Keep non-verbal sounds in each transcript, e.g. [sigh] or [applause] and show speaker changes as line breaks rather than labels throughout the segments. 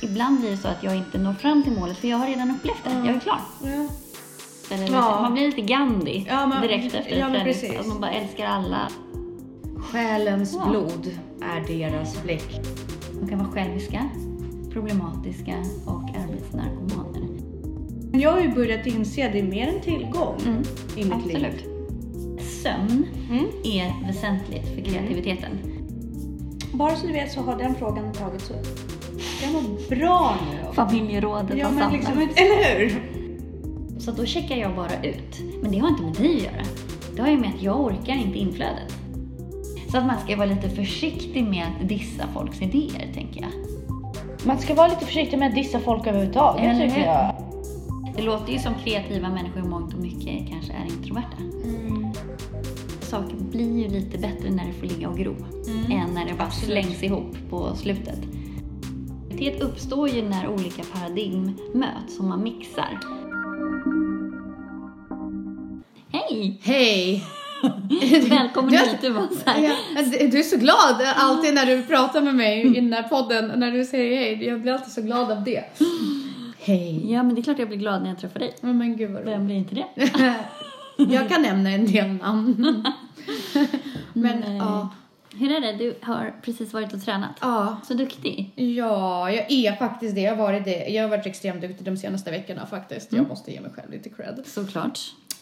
ibland blir det så att jag inte når fram till målet för jag har redan upplevt det.
Mm.
Jag är klar.
Ja.
Eller lite,
Ja.
Man blir lite Gandhi
Ja, men-
direkt efter
ja, men
ett
precis.
träningspass. Man bara älskar alla.
Själens
Ja.
blod är deras fläck.
De kan vara själviska, problematiska och arbetsnarkomaner.
Men Jag har ju börjat inse att det är mer en tillgång
Mm,
i mitt liv.
absolut. Sömn
Mm.
är väsentligt för kreativiteten.
Bara så du vet så har den frågan tagits upp. Jag mår bra nu.
Familjerådet
Ja,
har
men
samlat.
liksom, eller hur?
Så då checkar jag bara ut. Men det har inte med dig att göra. Det har ju med att jag orkar inte inflödet. Så att man ska vara lite försiktig med att dissa folks idéer, tänker jag.
Man ska vara lite försiktig med att dissa folk överhuvudtaget
Eller
tycker
hur?
jag.
Det låter ju som kreativa människor i mångt och mycket kanske är introverta. Mm. Saker blir ju lite bättre när det får ligga och gro än när det bara slängs ihop på slutet. Kreativitet uppstår ju när olika paradigm möts och man mixar. Hej!
[laughs] Hej!
Välkommen
Du-
hit, du var så här.
Ja, Du är så glad alltid när du pratar med mig i den här podden. När du säger hej, jag blir alltid så glad av det. [gasps] Hej.
Ja, men det är klart jag blir glad när jag träffar dig.
Oh, men gud vad roligt.
Vem blir inte det?
Jag kan nämna en del namn. Men
Nej.
ja,
[laughs] Hur är det? Du har precis varit och tränat.
ja.
Så duktig.
Ja, jag är faktiskt det. Jag har varit, det. Jag har varit extremt duktig de senaste veckorna faktiskt.
Mm.
Jag måste ge mig själv lite cred.
Såklart.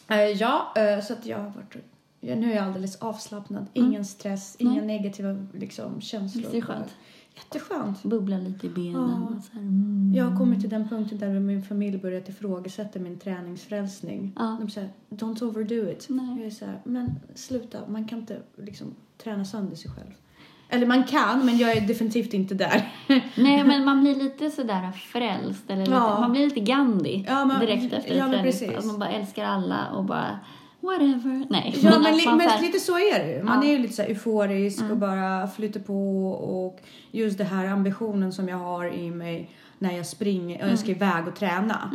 Eh, ja, eh, så att jag har varit... ja, nu är jag alldeles avslappnad. Ingen stress, inga negativa liksom, känslor.
Visst är Mm. det skönt?
Jätteskönt.
Bubblar lite i benen.
Ja.
Och så här. Mm.
Jag har kommit till den punkten där min familj börjat ifrågasätta min träningsfrälsning.
Ja.
De säger don't overdo it.
Nej.
Jag är så här, men sluta, man kan inte liksom, träna sönder sig själv. Eller man kan, men jag är definitivt
[laughs]
inte där.
Nej, men man blir lite sådär frälst. Eller lite,
Ja.
Man blir lite Gandhi
Ja, men-
direkt efter
ja, men
träningspass.
precis.
Att Man bara älskar alla och bara whatever. Nej,
Ja, men,
att
li-
man
men
så här-
lite så är det ju.
Ja.
Man
Mm.
är ju lite så här euforisk och bara flyter på och just det här ambitionen som jag har i mig när jag springer
Mm.
och jag ska iväg och träna.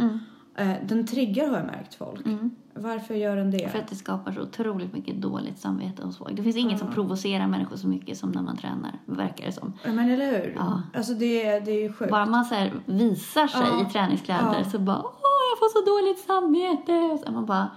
Eh, Den triggar har jag märkt folk. Varför gör den det?
Mm. För att det skapar så otroligt mycket dåligt samvete hos folk. Det finns inget som provocerar människor så mycket som när man tränar, verkar det som.
Ja, Men eller hur?
Ja.
Alltså det, är- det är ju sjukt.
Bara man så här visar sig
Ja.
i träningskläder
Ja.
så bara åh, jag får så dåligt samvete. Och så är man bara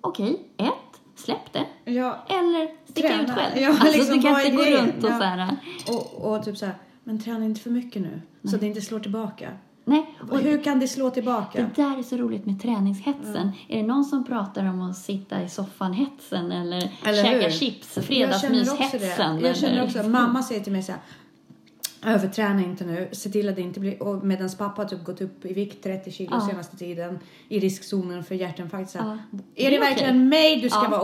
okej, ett, släpp det.
Ja,
Eller sticka
Träna.
ut själv.
Ja,
alltså
liksom,
du kan
vad är
inte gå
grejen?
runt och
Ja.
så här.
och, och typ så här, men träna inte för mycket nu så det inte slår tillbaka.
Nej,
Och
och
hur kan det slå tillbaka?
det där är så roligt med träningshetsen.
Mm.
Är det någon som pratar om att sitta i soffan-hetsen eller,
Eller
käka
hur?
chips,
Jag känner också
fredagsmyshetsen?
det. Jag känner
eller-
också, mamma säger till mig så här. Överträna inte nu, se till att det inte blir... Och medan pappa har typ gått upp i vikt 30 kilo
Ja.
senaste tiden i riskzonen för hjärtinfarkt. Så här,
Ja.
Är
Det
det
är
verkligen mig du ska
Ja,
vara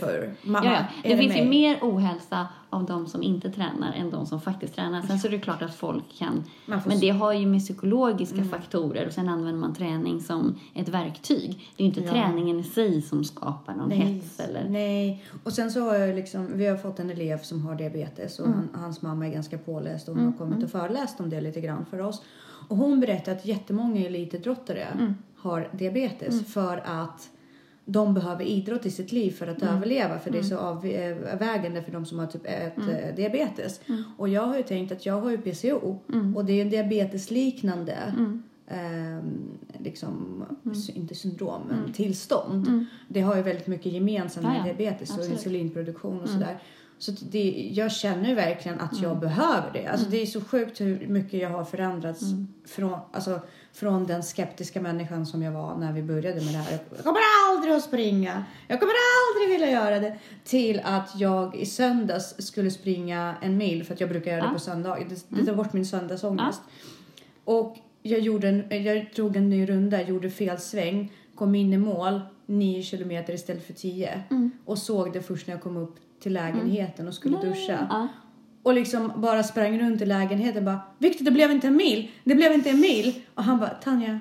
precis.
för? Mamma,
Ja, ja.
är
Det finns ju mer ohälsa av de som inte tränar än de som faktiskt tränar. Sen så är det klart att folk kan...
Man får
Men
Mm.
det har ju med psykologiska faktorer och sen använder man träning som ett verktyg. Det är ju inte träningen i sig som skapar någon
Nej,
hets eller...
nej. Och sen så har jag liksom, vi har fått en elev som har diabetes och
Mm.
han, hans mamma är ganska påläst och hon har kommit och föreläst om det lite grann för oss. Och hon berättar att jättemånga elitidrottare
Mm.
har diabetes för att de behöver idrott i sitt liv för att
Mm.
överleva för det är så avvägande för de som har typ ett
Mm.
eh, diabetes. Och jag har ju tänkt att jag har ju PCO
Mm.
och det är en diabetesliknande ehm, liksom,
Mm.
sy- inte syndrom, men tillstånd. Det har ju väldigt mycket gemensamt med
Ja, ja.
diabetes och
Absolut. Mm.
insulinproduktion och sådär. Så att det, jag känner verkligen att jag behöver det.
Mm.
Alltså det är så sjukt hur mycket jag har förändrats från, alltså, från den skeptiska människan som jag var när vi började med det här. Jag kommer
Mm.
aldrig att springa. Jag kommer aldrig vilja göra det. Till att jag i söndags skulle springa en mil för att jag brukar göra det
Ja. Mm.
på söndag. Det, det tar bort min söndagsångest. Och jag, gjorde en, jag tog en ny runda, gjorde fel sväng, kom in i mål 9 kilometer istället för 10. Och såg det först när jag kom upp till lägenheten och skulle duscha.
Ja.
Och liksom bara sprang runt i lägenheten bara Victor det blev inte en mil, det blev inte en mil. Och han bara Tanja,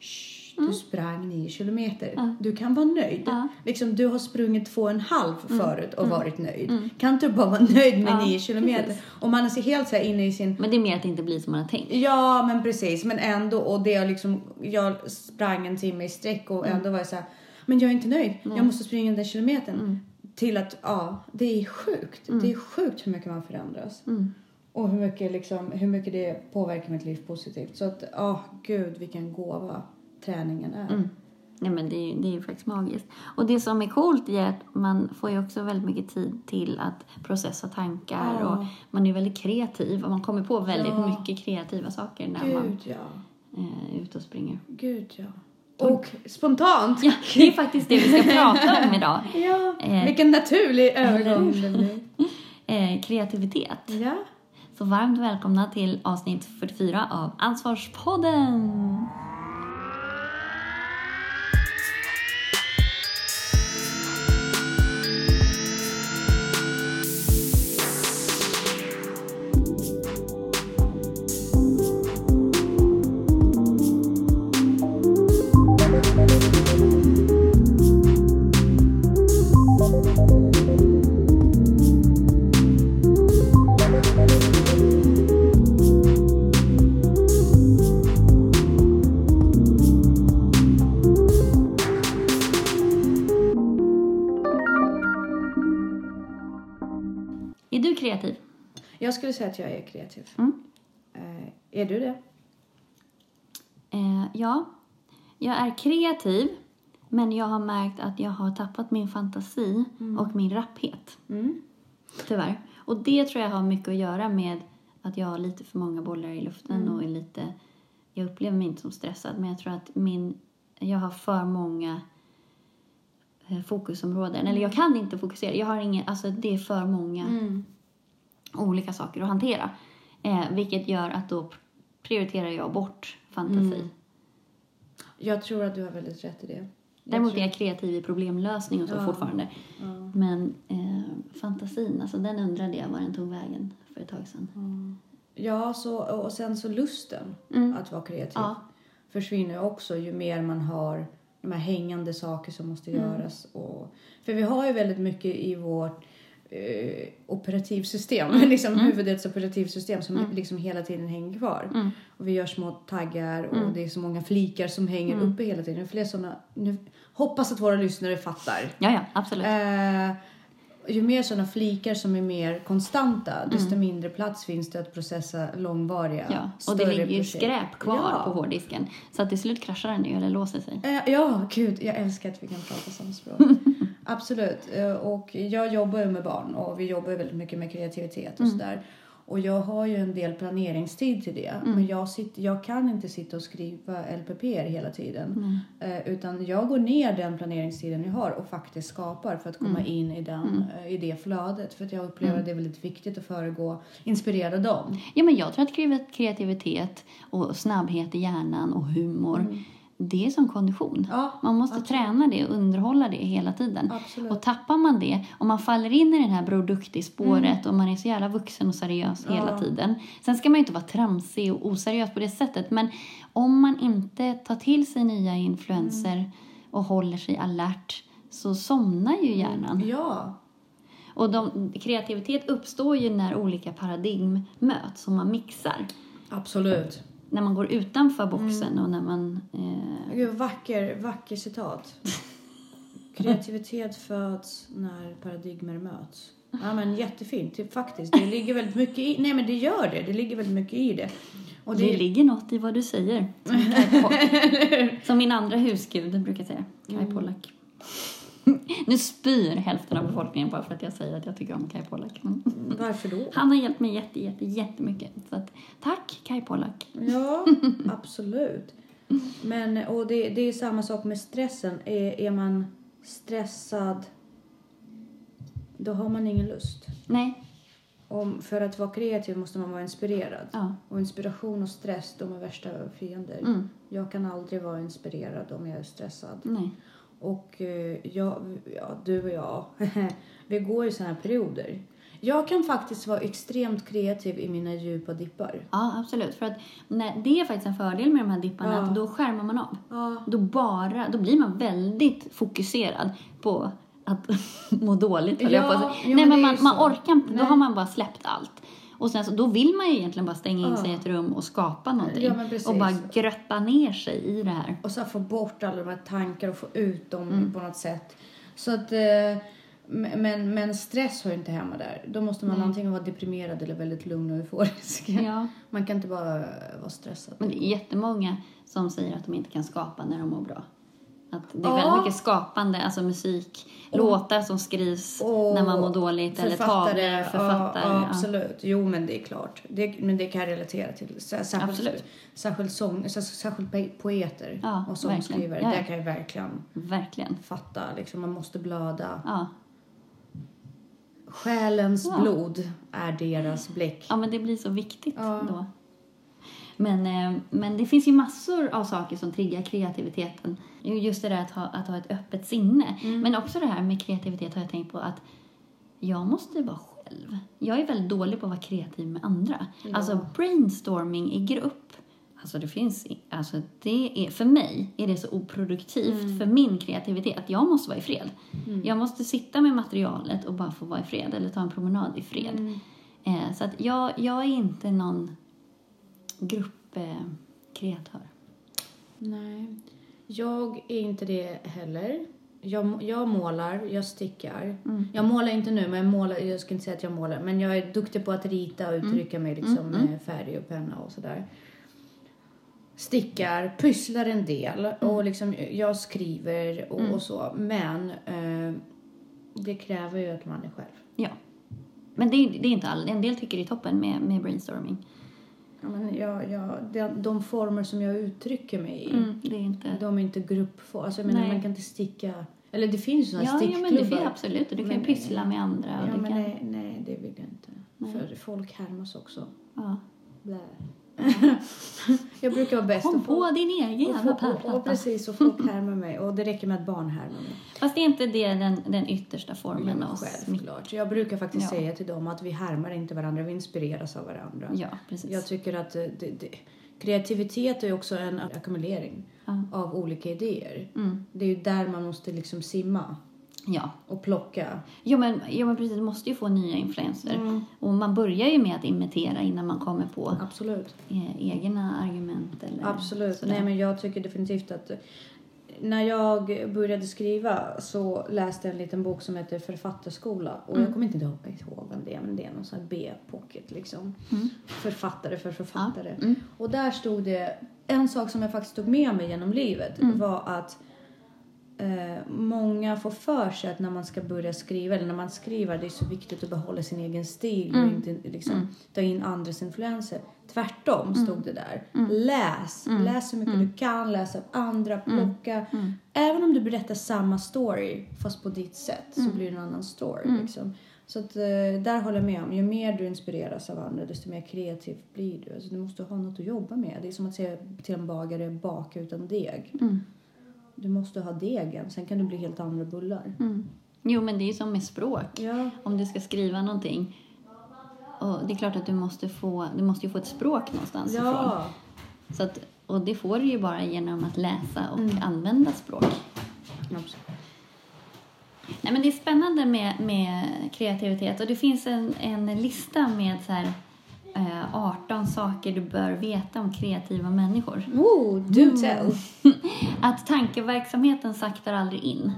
shh, du sprang 9 kilometer. Du kan vara nöjd. Liksom du har sprungit två och en halv förut och varit nöjd. Kan inte du bara vara nöjd med
Ja,
9 kilometer? Och man är så helt så här inne i sin
Men det är mer att det inte blir som man har tänkt.
Ja, men precis. Men ändå. Och det jag liksom, jag sprang en timme i sträck och
Mm.
ändå var jag så här, men jag är inte nöjd. Jag måste springa den där
Mm. Mm.
kilometern. Till att, ja, det är sjukt. Det är sjukt hur mycket man förändras. Och hur mycket, liksom, hur mycket det påverkar mitt liv positivt. Så att, ja, gud vilken gåva träningen är.
Mm. Nej, men det, är ju, det är ju faktiskt magiskt. Och det som är coolt är att man får ju också väldigt mycket tid till att processa tankar
Ja.
och man är väldigt kreativ och man kommer på väldigt
Ja.
mycket kreativa saker när man
Gud ja.
eh, är ute och springer.
Gud ja. Och spontant.
Ja, det är faktiskt det vi ska prata [laughs] om idag.
[laughs] Ja,
Eh.
vilken naturlig övergång
hur?
det blir.
Eh, kreativitet.
Ja.
Så varmt välkomna till avsnitt 44 av Ansvarspodden! Är du kreativ?
Jag skulle säga att jag är kreativ.
Mm.
Eh, är du det?
Eh, ja, jag är kreativ men jag har märkt att jag har tappat min fantasi och min rapphet.
Mm.
Tyvärr. Och det tror jag har mycket att göra med att jag har lite för många bollar i luften
Mm.
och är lite... Jag upplever mig inte som stressad men jag tror att min... Jag har för många eh, fokusområden. Eller jag kan inte fokusera. Jag har ingen... Alltså det är för många
Mm.
olika saker att hantera. Eh, vilket gör att då prioriterar jag bort fantasi.
Mm, Jag tror att du har väldigt rätt i det.
Däremot är jag kreativ i problemlösning och så
Ja.
fortfarande.
Ja.
Men eh, fantasin, alltså den undrade jag var den tog vägen för ett tag
Mm.
sedan.
Ja, så, och sen så lusten att vara kreativ
Ja.
försvinner ju också ju mer man har de här hängande saker som måste göras. Och, för vi har ju väldigt mycket i vårt eh, operativsystem, [laughs] liksom huvudets operativsystem som liksom hela tiden hänger kvar. Och vi gör små taggar och det är så många flikar som hänger uppe hela tiden. Fler såna, nu, hoppas att våra lyssnare fattar.
Ja, ja, absolut.
Eh, ju mer sådana flikar som är mer konstanta,
Mm.
desto mindre plats finns det att processa långvariga,
ja. Och det
större
ligger ju
projekt.
skräp kvar
ja.
på hårddisken. Så att till slut kraschar den ju eller låser sig.
Eh, Ja, gud, jag älskar att vi kan prata samspråk. Absolut. Eh, Och jag jobbar ju med barn och vi jobbar ju väldigt mycket med kreativitet och sådär. Och jag har ju en del planeringstid till det. Men jag, sitter, jag kan inte sitta och skriva LPP hela tiden. Eh, utan jag går ner den planeringstiden jag har och faktiskt skapar för att komma in i, den, eh, i det flödet. För att jag upplever att det är väldigt viktigt att föregå, inspirera dem.
Ja, men jag tror att kreat- kreativitet och snabbhet i hjärnan och humor, det är som kondition.
Mm. Ja,
man måste träna det och underhålla det hela tiden.
Absolut.
Och tappar man det, om man faller in i den här Bror Duktig-spåret
Mm.
och man är så jävla vuxen och seriös hela tiden. Sen ska man ju inte vara tramsig och oseriös på det sättet, men om man inte tar till sig nya influenser
Mm.
och håller sig alert så somnar ju hjärnan.
Ja,
Och de, kreativitet uppstår ju när olika paradigm möts och man mixar.
absolut.
När man går utanför boxen
Mm.
och när man... Eh,
Gud, vacker,
[laughs]
vacker citat. Kreativitet föds när paradigmer möts. Ja, men jättefint typ, faktiskt. Det ligger väldigt mycket i... Nej, men det gör det. Det ligger väldigt mycket i det. Och
det...
det,
ligger något i vad du
[laughs]
säger. Som, Kai Pollak. som min andra husgud brukar säga, Kai
Mm.
Pollak. [laughs] nu spyr hälften av befolkningen bara för att jag säger att jag tycker om Kai Pollak. Mm. [laughs]
Varför då?
Han har hjälpt mig jätte, jätte, jättemycket. Så att, tack Kai Pollak.
Ja, absolut. Men, och det, det är samma sak med stressen. Är, är man stressad, då har man ingen lust.
Nej,
Om, för att vara kreativ måste man vara inspirerad.
ja.
Och inspiration och stress, de är värsta fiender.
Mm.
Jag kan aldrig vara inspirerad om jag är stressad.
Nej.
Och eh, jag, ja, du och jag, [laughs] vi går i såna här perioder. Jag kan faktiskt vara extremt kreativ i mina djupa dippar.
Ja, absolut. För att när, det är faktiskt en fördel med de här dipparna,
Ja.
att då skärmar man av.
Ja,
då, bara, då blir man väldigt fokuserad på att [laughs] må dåligt, höll jag på
Ja,
att säga.
jo,
Nej,
men
men
det är
man,
ju
man
så.
orkar inte, då
Nej.
har man bara släppt allt. Och sen så, då vill man ju egentligen bara stänga in sig i ett rum och skapa någonting.
Ja, men precis.
och bara grötta ner sig i det här. Mm.
och så här få bort alla de här tankarna och få ut dem på något sätt. Så att, eh, Men, men- men stress hör ju inte hemma där. Då måste man antingen vara deprimerad eller väldigt lugn och euforisk.
Ja.
Man kan inte bara eh, vara stressad.
[laughs] Men det är jättemånga som säger att de inte kan skapa när de mår bra. Att det är
Ja.
väldigt mycket skapande, alltså musik, låtar som skrivs
Och
när man mår dåligt eller tavlor, författare.
Ja,
ja.
ja, absolut. Jo, men det är klart. Det, men det kan jag relatera till. Sär- Särskilt,
Absolut.
Särskilt, sång, sär- särskilt po- poeter
Ja,
och
verkligen.
sångskrivare.
Ja, ja.
Där kan jag verkligen
Verkligen.
fatta. Liksom, man måste blöda.
Ja.
Själens
Ja.
blod är deras blick.
ja, men det blir så viktigt
Ja.
då. Men, eh, men det finns ju massor av saker som triggar kreativiteten. Ju- Just det där att ha, att ha ett öppet sinne. Men också det här med kreativitet har jag tänkt på att jag måste vara själv. Jag är väldigt dålig på att vara kreativ med andra. Alltså brainstorming i grupp. Alltså det finns, i- alltså det är, för mig är det så oproduktivt för min kreativitet att jag måste vara i fred. Jag måste sitta med materialet och bara få vara i fred eller ta en promenad i fred. Eh, så att jag, jag är inte någon gruppkreatör.
Nej. Jag är inte det heller. Jag, jag målar, jag stickar. Jag målar inte nu, men jag, målar, jag ska inte säga att jag målar. Men jag är duktig på att rita och uttrycka mig liksom, med färg och penna och sådär. Stickar, pysslar en del och liksom, jag skriver och, och så. Men eh, det kräver ju att man är själv.
ja. Men det, är- det är inte alla. En del tycker det är toppen med, med brainstorming.
Ja, men jag, jag, de, de former som jag uttrycker mig i
Mm. Det är inte...
De är inte gruppform. Alltså, jag menar,
Nej.
man kan inte sticka. Eller det finns ju sådana
Ja, ja, men det
stickklubbar.
finns absolut. Du kan ju
Men-
pyssla med andra. Och
ja,
du
men
kan,
nej, nej, det vill jag inte. För folk härmas också.
ja. [laughs]
Blä. jag brukar vara bäst.
Kom
och folk-
på din egen jävla
och, folk- och, och
pärlplatta.
precis, och folk härmar mig. Och det räcker med att barn härmar mig.
Fast det är inte det den, den yttersta formen av smitt.
Självklart. Jag brukar faktiskt
Ja.
säga till dem att vi härmar inte varandra, vi inspireras av varandra.
Ja, precis.
Jag tycker att eh, det, det, kreativitet är också en ackumulering
Ja.
av olika idéer.
Mm.
Det är ju där man måste liksom simma
Ja.
och plocka.
Jo men, jo, men precis. Du måste ju få nya influenser.
Mm.
Och man börjar ju med att imitera innan man kommer på
Absolut.
eh, egna argument. Eller
Absolut.
sådär.
Nej, men jag tycker definitivt att när jag började skriva så läste jag en liten bok som heter Författarskola. Och jag kommer inte ihåg vem det är, men det är någon sån här B-pocket liksom. Författare för författare. Och där stod det, en sak som jag faktiskt tog med mig genom livet var att eh, många får för sig att när man ska börja skriva, eller när man skriver, det är så viktigt att behålla sin egen stil och inte liksom, ta in andras influenser. Tvärtom stod det där. Läs! Läs så mycket du kan, läs av andra, plocka. Även om du berättar samma story, fast på ditt sätt, så blir det en annan story. Liksom. Så att, eh, där håller jag med om. Ju mer du inspireras av andra, desto mer kreativ blir du. Alltså, du måste ha något att jobba med. Det är som att säga till en bagare, baka utan deg. Du måste ha degen, sen kan du bli helt andra bullar.
Mm. Jo, men det är ju som med språk.
Ja.
Om du ska skriva någonting. Och det är klart att du måste få, du måste ju få ett språk någonstans ifrån.
Ja,
Så att, och det får du ju bara genom att läsa och använda språk. Nej, men det är spännande med, med kreativitet. Och det finns en, en lista med så här, eh, 18 saker du bör veta om kreativa människor.
Oh, do tell!
Att tankeverksamheten saktar aldrig in.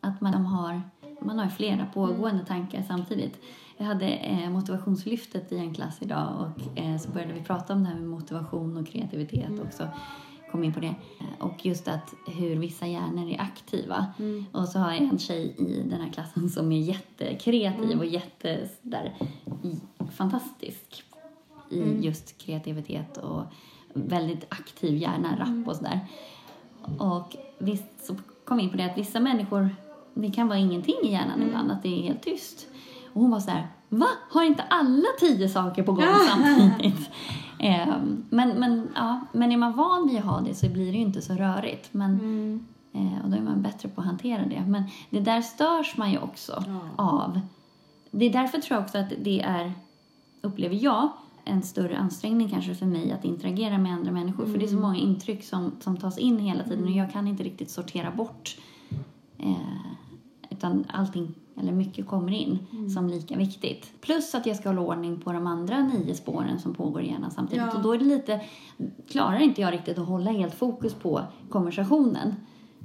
Att man har, man har flera pågående tankar samtidigt. Jag hade eh, motivationslyftet i en klass idag och eh, så började vi prata om det här med motivation och kreativitet också. Kom in på det. Eh, Och just att hur vissa hjärnor är aktiva. Och så har jag en tjej i den här klassen som är jättekreativ och jätte, så där, i- fantastisk i just kreativitet och väldigt aktiv hjärna, rapp och sådär. Och visst så kom vi in på det att vissa människor, det kan vara ingenting i hjärnan ibland, att det är helt tyst. Och hon var så här, va? Har inte alla tio saker på gång samtidigt? Ehm, men, men, ja, men är man van vid att ha det så blir det ju inte så rörigt. Men, eh, och då är man bättre på att hantera det. Men det där störs man ju också av. Det är därför tror jag också att det är, upplever jag, en större ansträngning kanske för mig att interagera med andra människor. För det är så många intryck som, som tas in hela tiden och jag kan inte riktigt sortera bort. Eh, utan allting, eller mycket kommer in som lika viktigt. Plus att jag ska hålla ordning på de andra nio spåren som pågår i hjärnan samtidigt.
Ja.
Och då är det lite, klarar inte jag riktigt att hålla helt fokus på konversationen.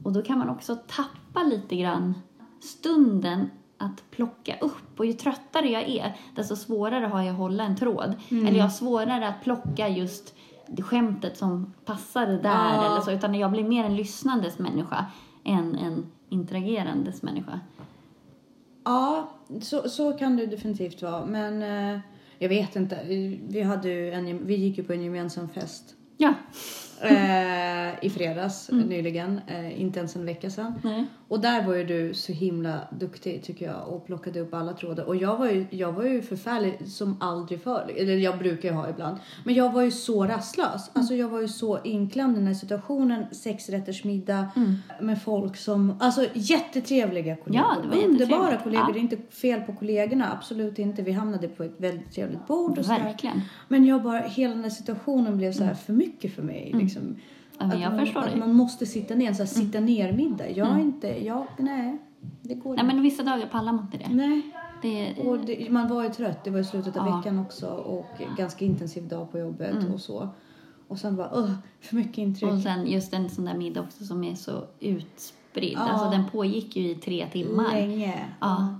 Och då kan man också tappa lite grann stunden att plocka upp. Och ju tröttare jag är, desto svårare har jag att hålla en tråd. Eller jag har svårare att plocka just det skämtet som passade där
Ja.
eller så. Utan jag blir mer en lyssnandes människa än en interagerandes människa.
Ja, så, så kan det definitivt vara. Men eh, jag vet inte. Vi- Vi, hade ju en, vi gick ju på en gemensam fest
Ja.
eh, i fredags nyligen. Eh, inte ens en vecka sedan.
Nej.
Och där var ju du så himla duktig tycker jag och plockade upp alla trådar. Och jag var ju, jag var ju förfärlig som aldrig förr. Eller jag brukar ju ha ibland. Men jag var ju så
Mm.
rastlös. Alltså jag var ju så inklämd i den här situationen. Sexrättersmiddag med folk som, alltså jättetrevliga kollegor.
Mm. Ja, det var
Underbara
jättetrevligt.
kollegor.
Ja.
Det är inte fel på kollegorna, absolut inte. Vi hamnade på ett väldigt trevligt bord och sådär.
Verkligen.
Men jag bara, hela den här situationen blev så här för mycket för mig. Liksom.
Mm. Ja, men
Att
jag
man,
förstår
att
dig. Mm.
man måste sitta ner, en så här, sitta ner middag. Jag är inte, jag, nej. Det går
Nej, men vissa dagar pallar man inte det.
inte. Nej.
det
Och det, man var ju trött, det var i slutet av
Ja. Mm.
veckan också och ganska intensiv dag på jobbet och så. Och sen bara, "Ugh, för mycket intryck.
och sen just en sån där middag också som är så utspridd.
Ja.
Alltså den pågick ju i tre timmar.
Länge.
Ja.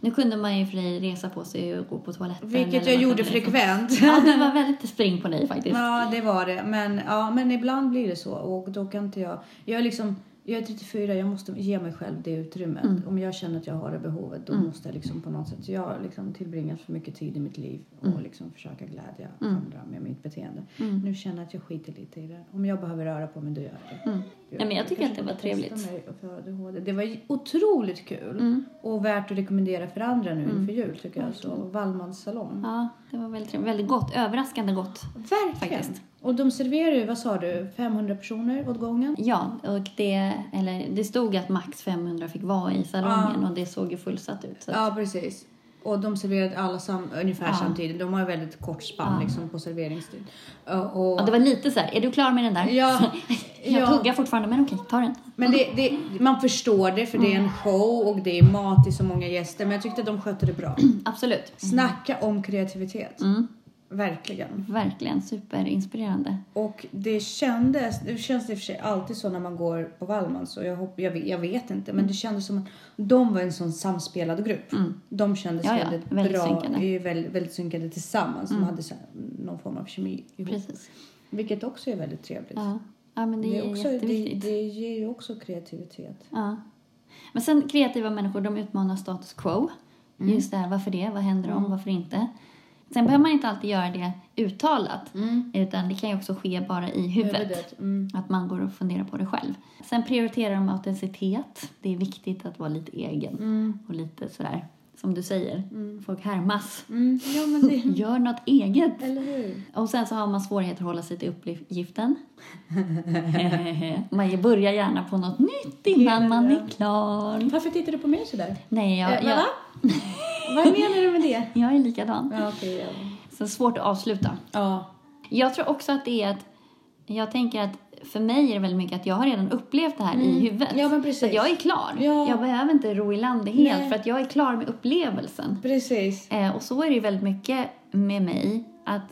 Nu kunde man ju för dig resa på sig och gå på toaletten. eller
Vilket
man
jag gjorde
kunde liksom- [laughs]
frekvent.
Ja, det var väldigt spring på dig faktiskt.
Ja, det var det. Men, ja, men ibland blir det så och då kan inte jag... Jag är, liksom, jag är 34, jag måste ge mig själv det utrymmet.
Mm.
Om jag känner att jag har det behovet då måste jag liksom på något sätt... Jag har liksom tillbringat för mycket tid i mitt liv och
Mm.
liksom försöka glädja andra med mitt beteende. Nu känner jag att jag skiter lite i det. Om jag behöver röra på mig då gör jag det.
Mm. Nej, men jag tycker
kanske
att det var
borde testa
trevligt. Mm.
mig för ADHD. Det var ju otroligt kul och värt att rekommendera för andra nu inför jul tycker jag. Så Wallmans salong.
Ja, det var väldigt trevligt. Väldigt gott. Överraskande gott.
Verkligen.
Faktiskt.
Och de serverar ju, vad sa du, 500 personer åt gången?
Ja, och det, eller, det stod att max 500 fick vara i salongen
Ah.
och det såg ju fullsatt ut. Så.
Ja, precis. Och de serverade alla sam, ungefär samtidigt. De har ju väldigt kort spann liksom, på serveringstid. Ja, Och,
Ja, det var lite så här, är du klar med den där?
[laughs] Ja,
jag
ja.
tuggar fortfarande, men okej, ta den.
Men det, det, man förstår det för det är en show och det är mat till så många gäster. Men jag tyckte att de skötte det bra.
Mm, Absolut.
Snacka om kreativitet. Verkligen.
Verkligen superinspirerande.
Och det kändes, det känns i och för sig alltid så när man går på Wallmans och jag, hopp, jag, vet- jag vet inte
Mm.
men det kändes som att de var en sån samspelad grupp. De kändes
Ja, ja,
väldigt,
väldigt
bra,
synkade. Mm.
är ju väldigt, väldigt synkade tillsammans. De hade så här, någon form av kemi ihop.
Precis.
Vilket också är väldigt trevligt.
Ja, ja men det,
Det,
är
är också, det,
jätteviktigt.
det ger ju också kreativitet.
Ja. Men sen kreativa människor, de utmanar status quo.
Mm.
Just det här, varför det? Vad händer om? Varför inte? Sen behöver man inte alltid göra det uttalat, utan det kan ju också ske bara i huvudet.
Mm. Huvudet, mm.
Att man går och funderar på det själv. Sen prioriterar de autenticitet. Det är viktigt att vara lite egen
Mm.
och lite sådär, som du säger, folk härmas.
Mm. Ja
[laughs]
men det,
Gör något eget.
eller hur?
Och sen så har man svårigheter att hålla sig till uppgiften. [laughs] man börjar gärna på något nytt innan man är klar.
Varför tittar du på mig sådär?
Nej, jag,
Eh,
jag,
va?
[laughs]
Vad menar du med det?
jag är likadan.
Ja, okej. ja.
Så svårt att avsluta.
ja.
Jag tror också att det är att, jag tänker att för mig är det väldigt mycket att jag har redan upplevt det här i huvudet.
Mm. Ja, men precis.
Så att jag är klar.
Ja.
Jag behöver inte ro i land det helt
Nej.
för att jag är klar med upplevelsen.
Precis.
Eh, och så är det ju väldigt mycket med mig att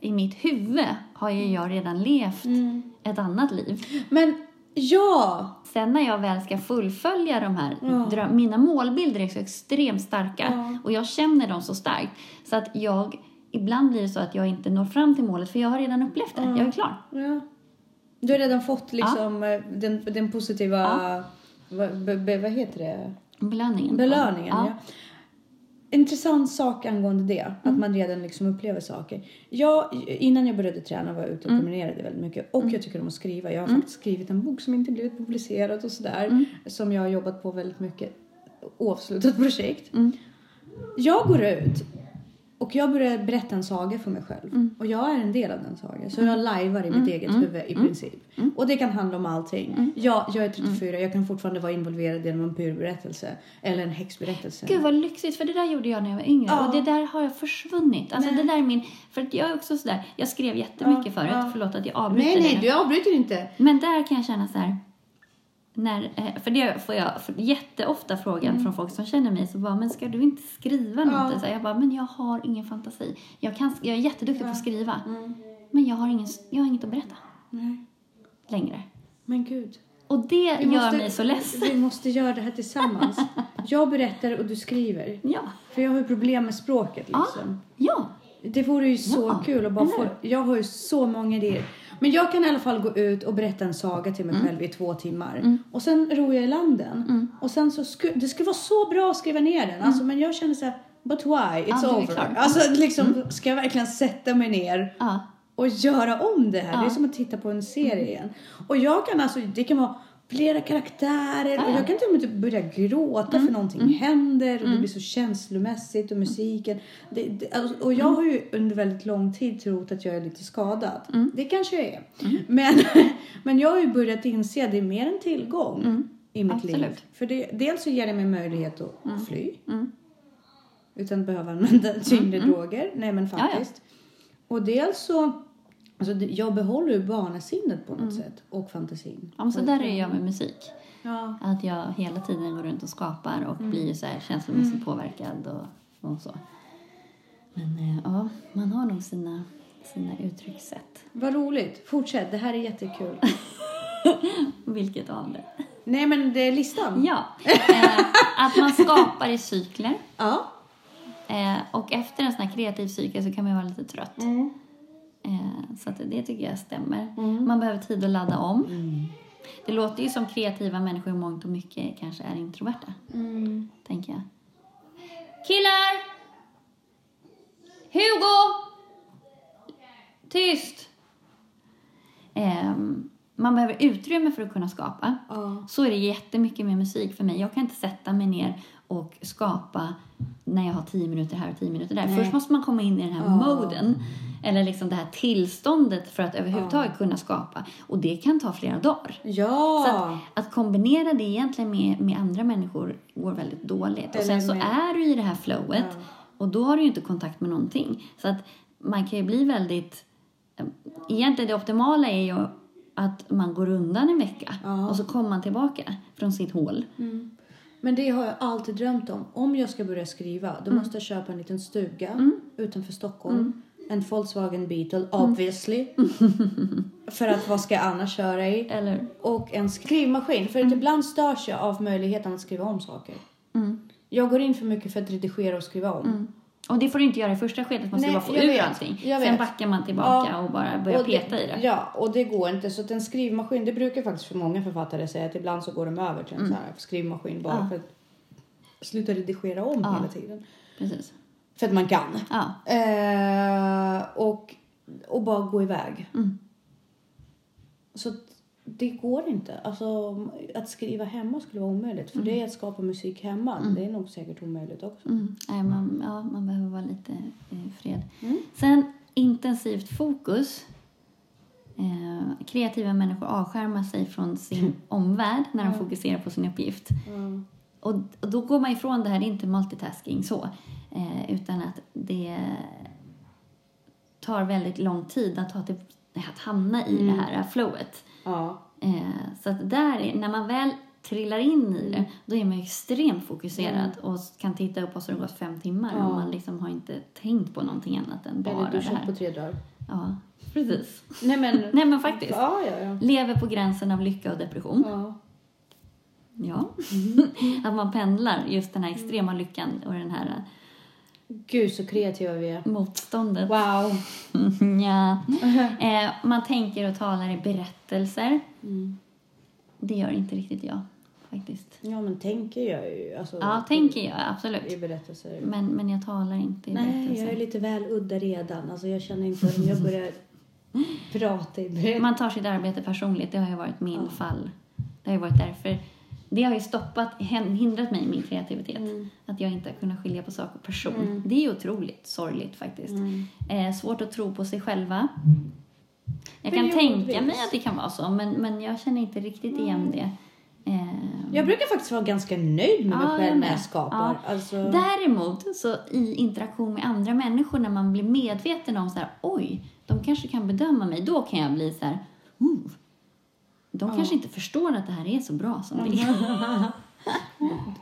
i mitt huvud har ju jag redan levt
Mm.
ett annat liv.
Men ja!
Sen när jag väl ska fullfölja de här, dröm, mina målbilder är så extremt starka och jag känner dem så starkt så att jag, ibland blir det så att jag inte når fram till målet för jag har redan upplevt det, jag är klar.
Ja. Du har redan fått liksom eh, den, den positiva, vad, be, be, vad heter det,
Belöningen.
belöningen. Ja.
Ja.
Intressant sak angående det, att man redan liksom upplever saker. Jag, innan jag började träna var jag ute och promenerade väldigt mycket och jag tycker om att skriva. Jag har faktiskt skrivit en bok som inte blivit publicerad och sådär, som jag har jobbat på väldigt mycket, oavslutat projekt. Jag går ut och jag börjar berätta en saga för mig själv.
Mm.
Och jag är en del av den sagan. Så jag lajvar i mitt eget huvud
Mm.
i princip. Och det kan handla om allting. Ja, jag är 34, jag kan fortfarande vara involverad i en vampyrberättelse. Eller en häxberättelse.
Gud vad lyxigt, för det där gjorde jag när jag var yngre
Ja.
och det där har jag försvunnit. Alltså det där är min, för att jag är också sådär, jag skrev jättemycket
Ja,
förut,
ja.
förlåt att jag avbryter
nej,
det
nej,
nu.
du avbryter inte.
Men där kan jag känna så här. När, eh, för det får jag f- jätteofta frågan
Mm.
från folk som känner mig. Så bara, men ska du inte skriva något? Så här, jag bara, men jag har ingen fantasi. Jag, kan, jag är jätteduktig på att
Mm.
skriva. Men jag har, ingen, jag har inget att berätta
Nej.
längre.
Men gud.
Och det
Vi
gör
måste-
mig så ledsen.
Vi måste göra det här tillsammans.
[laughs]
Jag berättar och du skriver.
Ja,
För jag har ju problem med språket
Ah.
liksom.
ja.
Det vore ju så
Ja,
kul att bara
eller
få, jag har ju så många idéer. Men jag kan i alla fall gå ut och berätta en saga till mig
Mm.
själv i två timmar. Och sen ror jag i landen. Och sen så sku, det skulle vara så bra att skriva ner den. Alltså, men jag känner så här, but why? It's
Mm. Ja, det är klart. Mm.
over. Alltså liksom, ska jag verkligen sätta mig ner
ja.
och göra om det här? Det
Ja.
är som att titta på en serie igen. Och jag kan alltså, det kan vara flera karaktärer
Ja,
och
ja. Mm.
jag kan till och med typ börja gråta för någonting händer och det blir så känslomässigt och musiken. Det, det, alltså, och
Mm.
jag har ju under väldigt lång tid trott att jag är lite skadad.
Mm.
Det kanske jag är. Men, [laughs] men jag har ju börjat inse att det är mer en tillgång i mitt liv.
Mm. Absolut. Mm.
För det, dels så ger det mig möjlighet att fly. Utan att behöva använda tyngre droger. Nej men
Mm. ja.
faktiskt. Och dels så, alltså det- jag behåller ju barnasinnet på något sätt och fantasin.
ja men så där är jag med musik.
Ja.
Att jag hela tiden går runt och skapar och blir så här känslomässigt påverkad och, och så. Men eh, ja, man har nog sina, sina uttryckssätt.
Vad roligt. Fortsätt, det här är jättekul. [laughs]
Vilket av det?
Nej men det är listan.
Ja, eh, att man skapar i cykler.
Ja.
Eh, och efter en sån här kreativ cykel så kan man ju vara lite trött.
Mm.
Eh, så att det tycker jag stämmer. Man behöver tid att ladda om. Det låter ju som kreativa människor i mångt och mycket kanske är introverta, tänker jag. Killar! Hugo! Tyst! Ehm, man behöver utrymme för att kunna skapa.
Ja.
Så är det jättemycket med musik för mig. Jag kan inte sätta mig ner och skapa när jag har 10 minuter här och 10 minuter där. Först måste man komma in i den här moden, eller liksom det här tillståndet för att överhuvudtaget kunna skapa. Och det kan ta flera dagar.
Ja.
Så att, att kombinera det egentligen med, med andra människor går väldigt dåligt. Och
Eller
sen så
med-
är du i det här flowet och då har du ju inte kontakt med någonting. Så att man kan ju bli väldigt... eh, Egentligen det optimala är ju att man går undan en vecka
Ja. Mm.
och så kommer man tillbaka från sitt hål.
Men det har jag alltid drömt om. Om jag ska börja skriva, då måste jag köpa en liten stuga utanför Stockholm. En Volkswagen Beetle, obviously. [laughs] För att vad ska jag annars köra i?
Eller?
och en skrivmaskin. För
Mm.
att ibland störs jag av möjligheten att skriva om saker.
Mm.
Jag går in för mycket för att redigera och skriva om.
Och det får du inte göra i första skedet, man ska
Nej,
bara få
jag
ur
vet.
allting.
Jag
Sen
vet.
backar man tillbaka
Ja.
och bara börjar
Och
peta i det.
Ja, och det går inte. Så att en skrivmaskin, det brukar faktiskt för många författare säga att ibland så går de över till en
Mm.
sån här skrivmaskin bara för att sluta redigera om hela tiden.
Precis.
För att man kan.
Ja.
Eh, och, och bara gå iväg.
Mm.
Så att det går inte. Alltså, att skriva hemma skulle vara omöjligt. För det är att skapa musik hemma. Det är nog säkert omöjligt också.
Mm. Nej, man, ja, man behöver vara lite i fred. Sen intensivt fokus. Eh, kreativa människor avskärmar sig från sin omvärld när de fokuserar på sin uppgift. Och, och då går man ifrån det här, det är inte multitasking så, eh, utan att det tar väldigt lång tid att, ta till, att hamna i det här flowet.
Ja.
Eh, så att där, är- när man väl trillar in i det, då är man ju extremt fokuserad
Mm.
och kan titta upp och så har det gått fem timmar och man liksom har inte tänkt på någonting annat än bara
Eller
det
du kört på
här.
tre dagar.
Ja, precis.
Nej men.
[laughs] Nej men faktiskt. Mm.
Ja, ja, ja.
Lever på gränsen av lycka och depression.
ja.
Ja. [laughs]
Mm.
att man pendlar just den här extrema lyckan och den här
Gud så kreativa vi är.
eh, motståndet.
Wow.
[laughs]
[laughs]
ja. eh, man tänker och talar i berättelser.
Mm.
Det gör inte riktigt jag faktiskt.
Ja men tänker jag ju. Alltså,
Ja, tänker jag absolut.
I berättelser.
Men, men jag talar inte i
Nej,
berättelser.
jag är lite väl udda redan. Alltså jag känner inte om
[laughs]
jag börjar prata i berättelser.
Man tar sitt arbete personligt, det har ju varit min fall. Det har ju varit därför. Det har ju stoppat, hin- hindrat mig i min kreativitet. Att jag inte har kunnat skilja på sak och person. Det är ju otroligt sorgligt faktiskt. Eh, svårt att tro på sig själva. Jag kan
Periodvis.
tänka mig att det kan vara så, men, men jag känner inte riktigt igen det. Eh,
Jag brukar faktiskt vara ganska nöjd med mig
Ja, jag
själv när
med.
jag skapar.
Ja.
Alltså,
Däremot så i interaktion med andra människor när man blir medveten om så här, oj, de kanske kan bedöma mig, då kan jag bli så här, "Oh, de kanske inte förstår att det här är så bra som det är.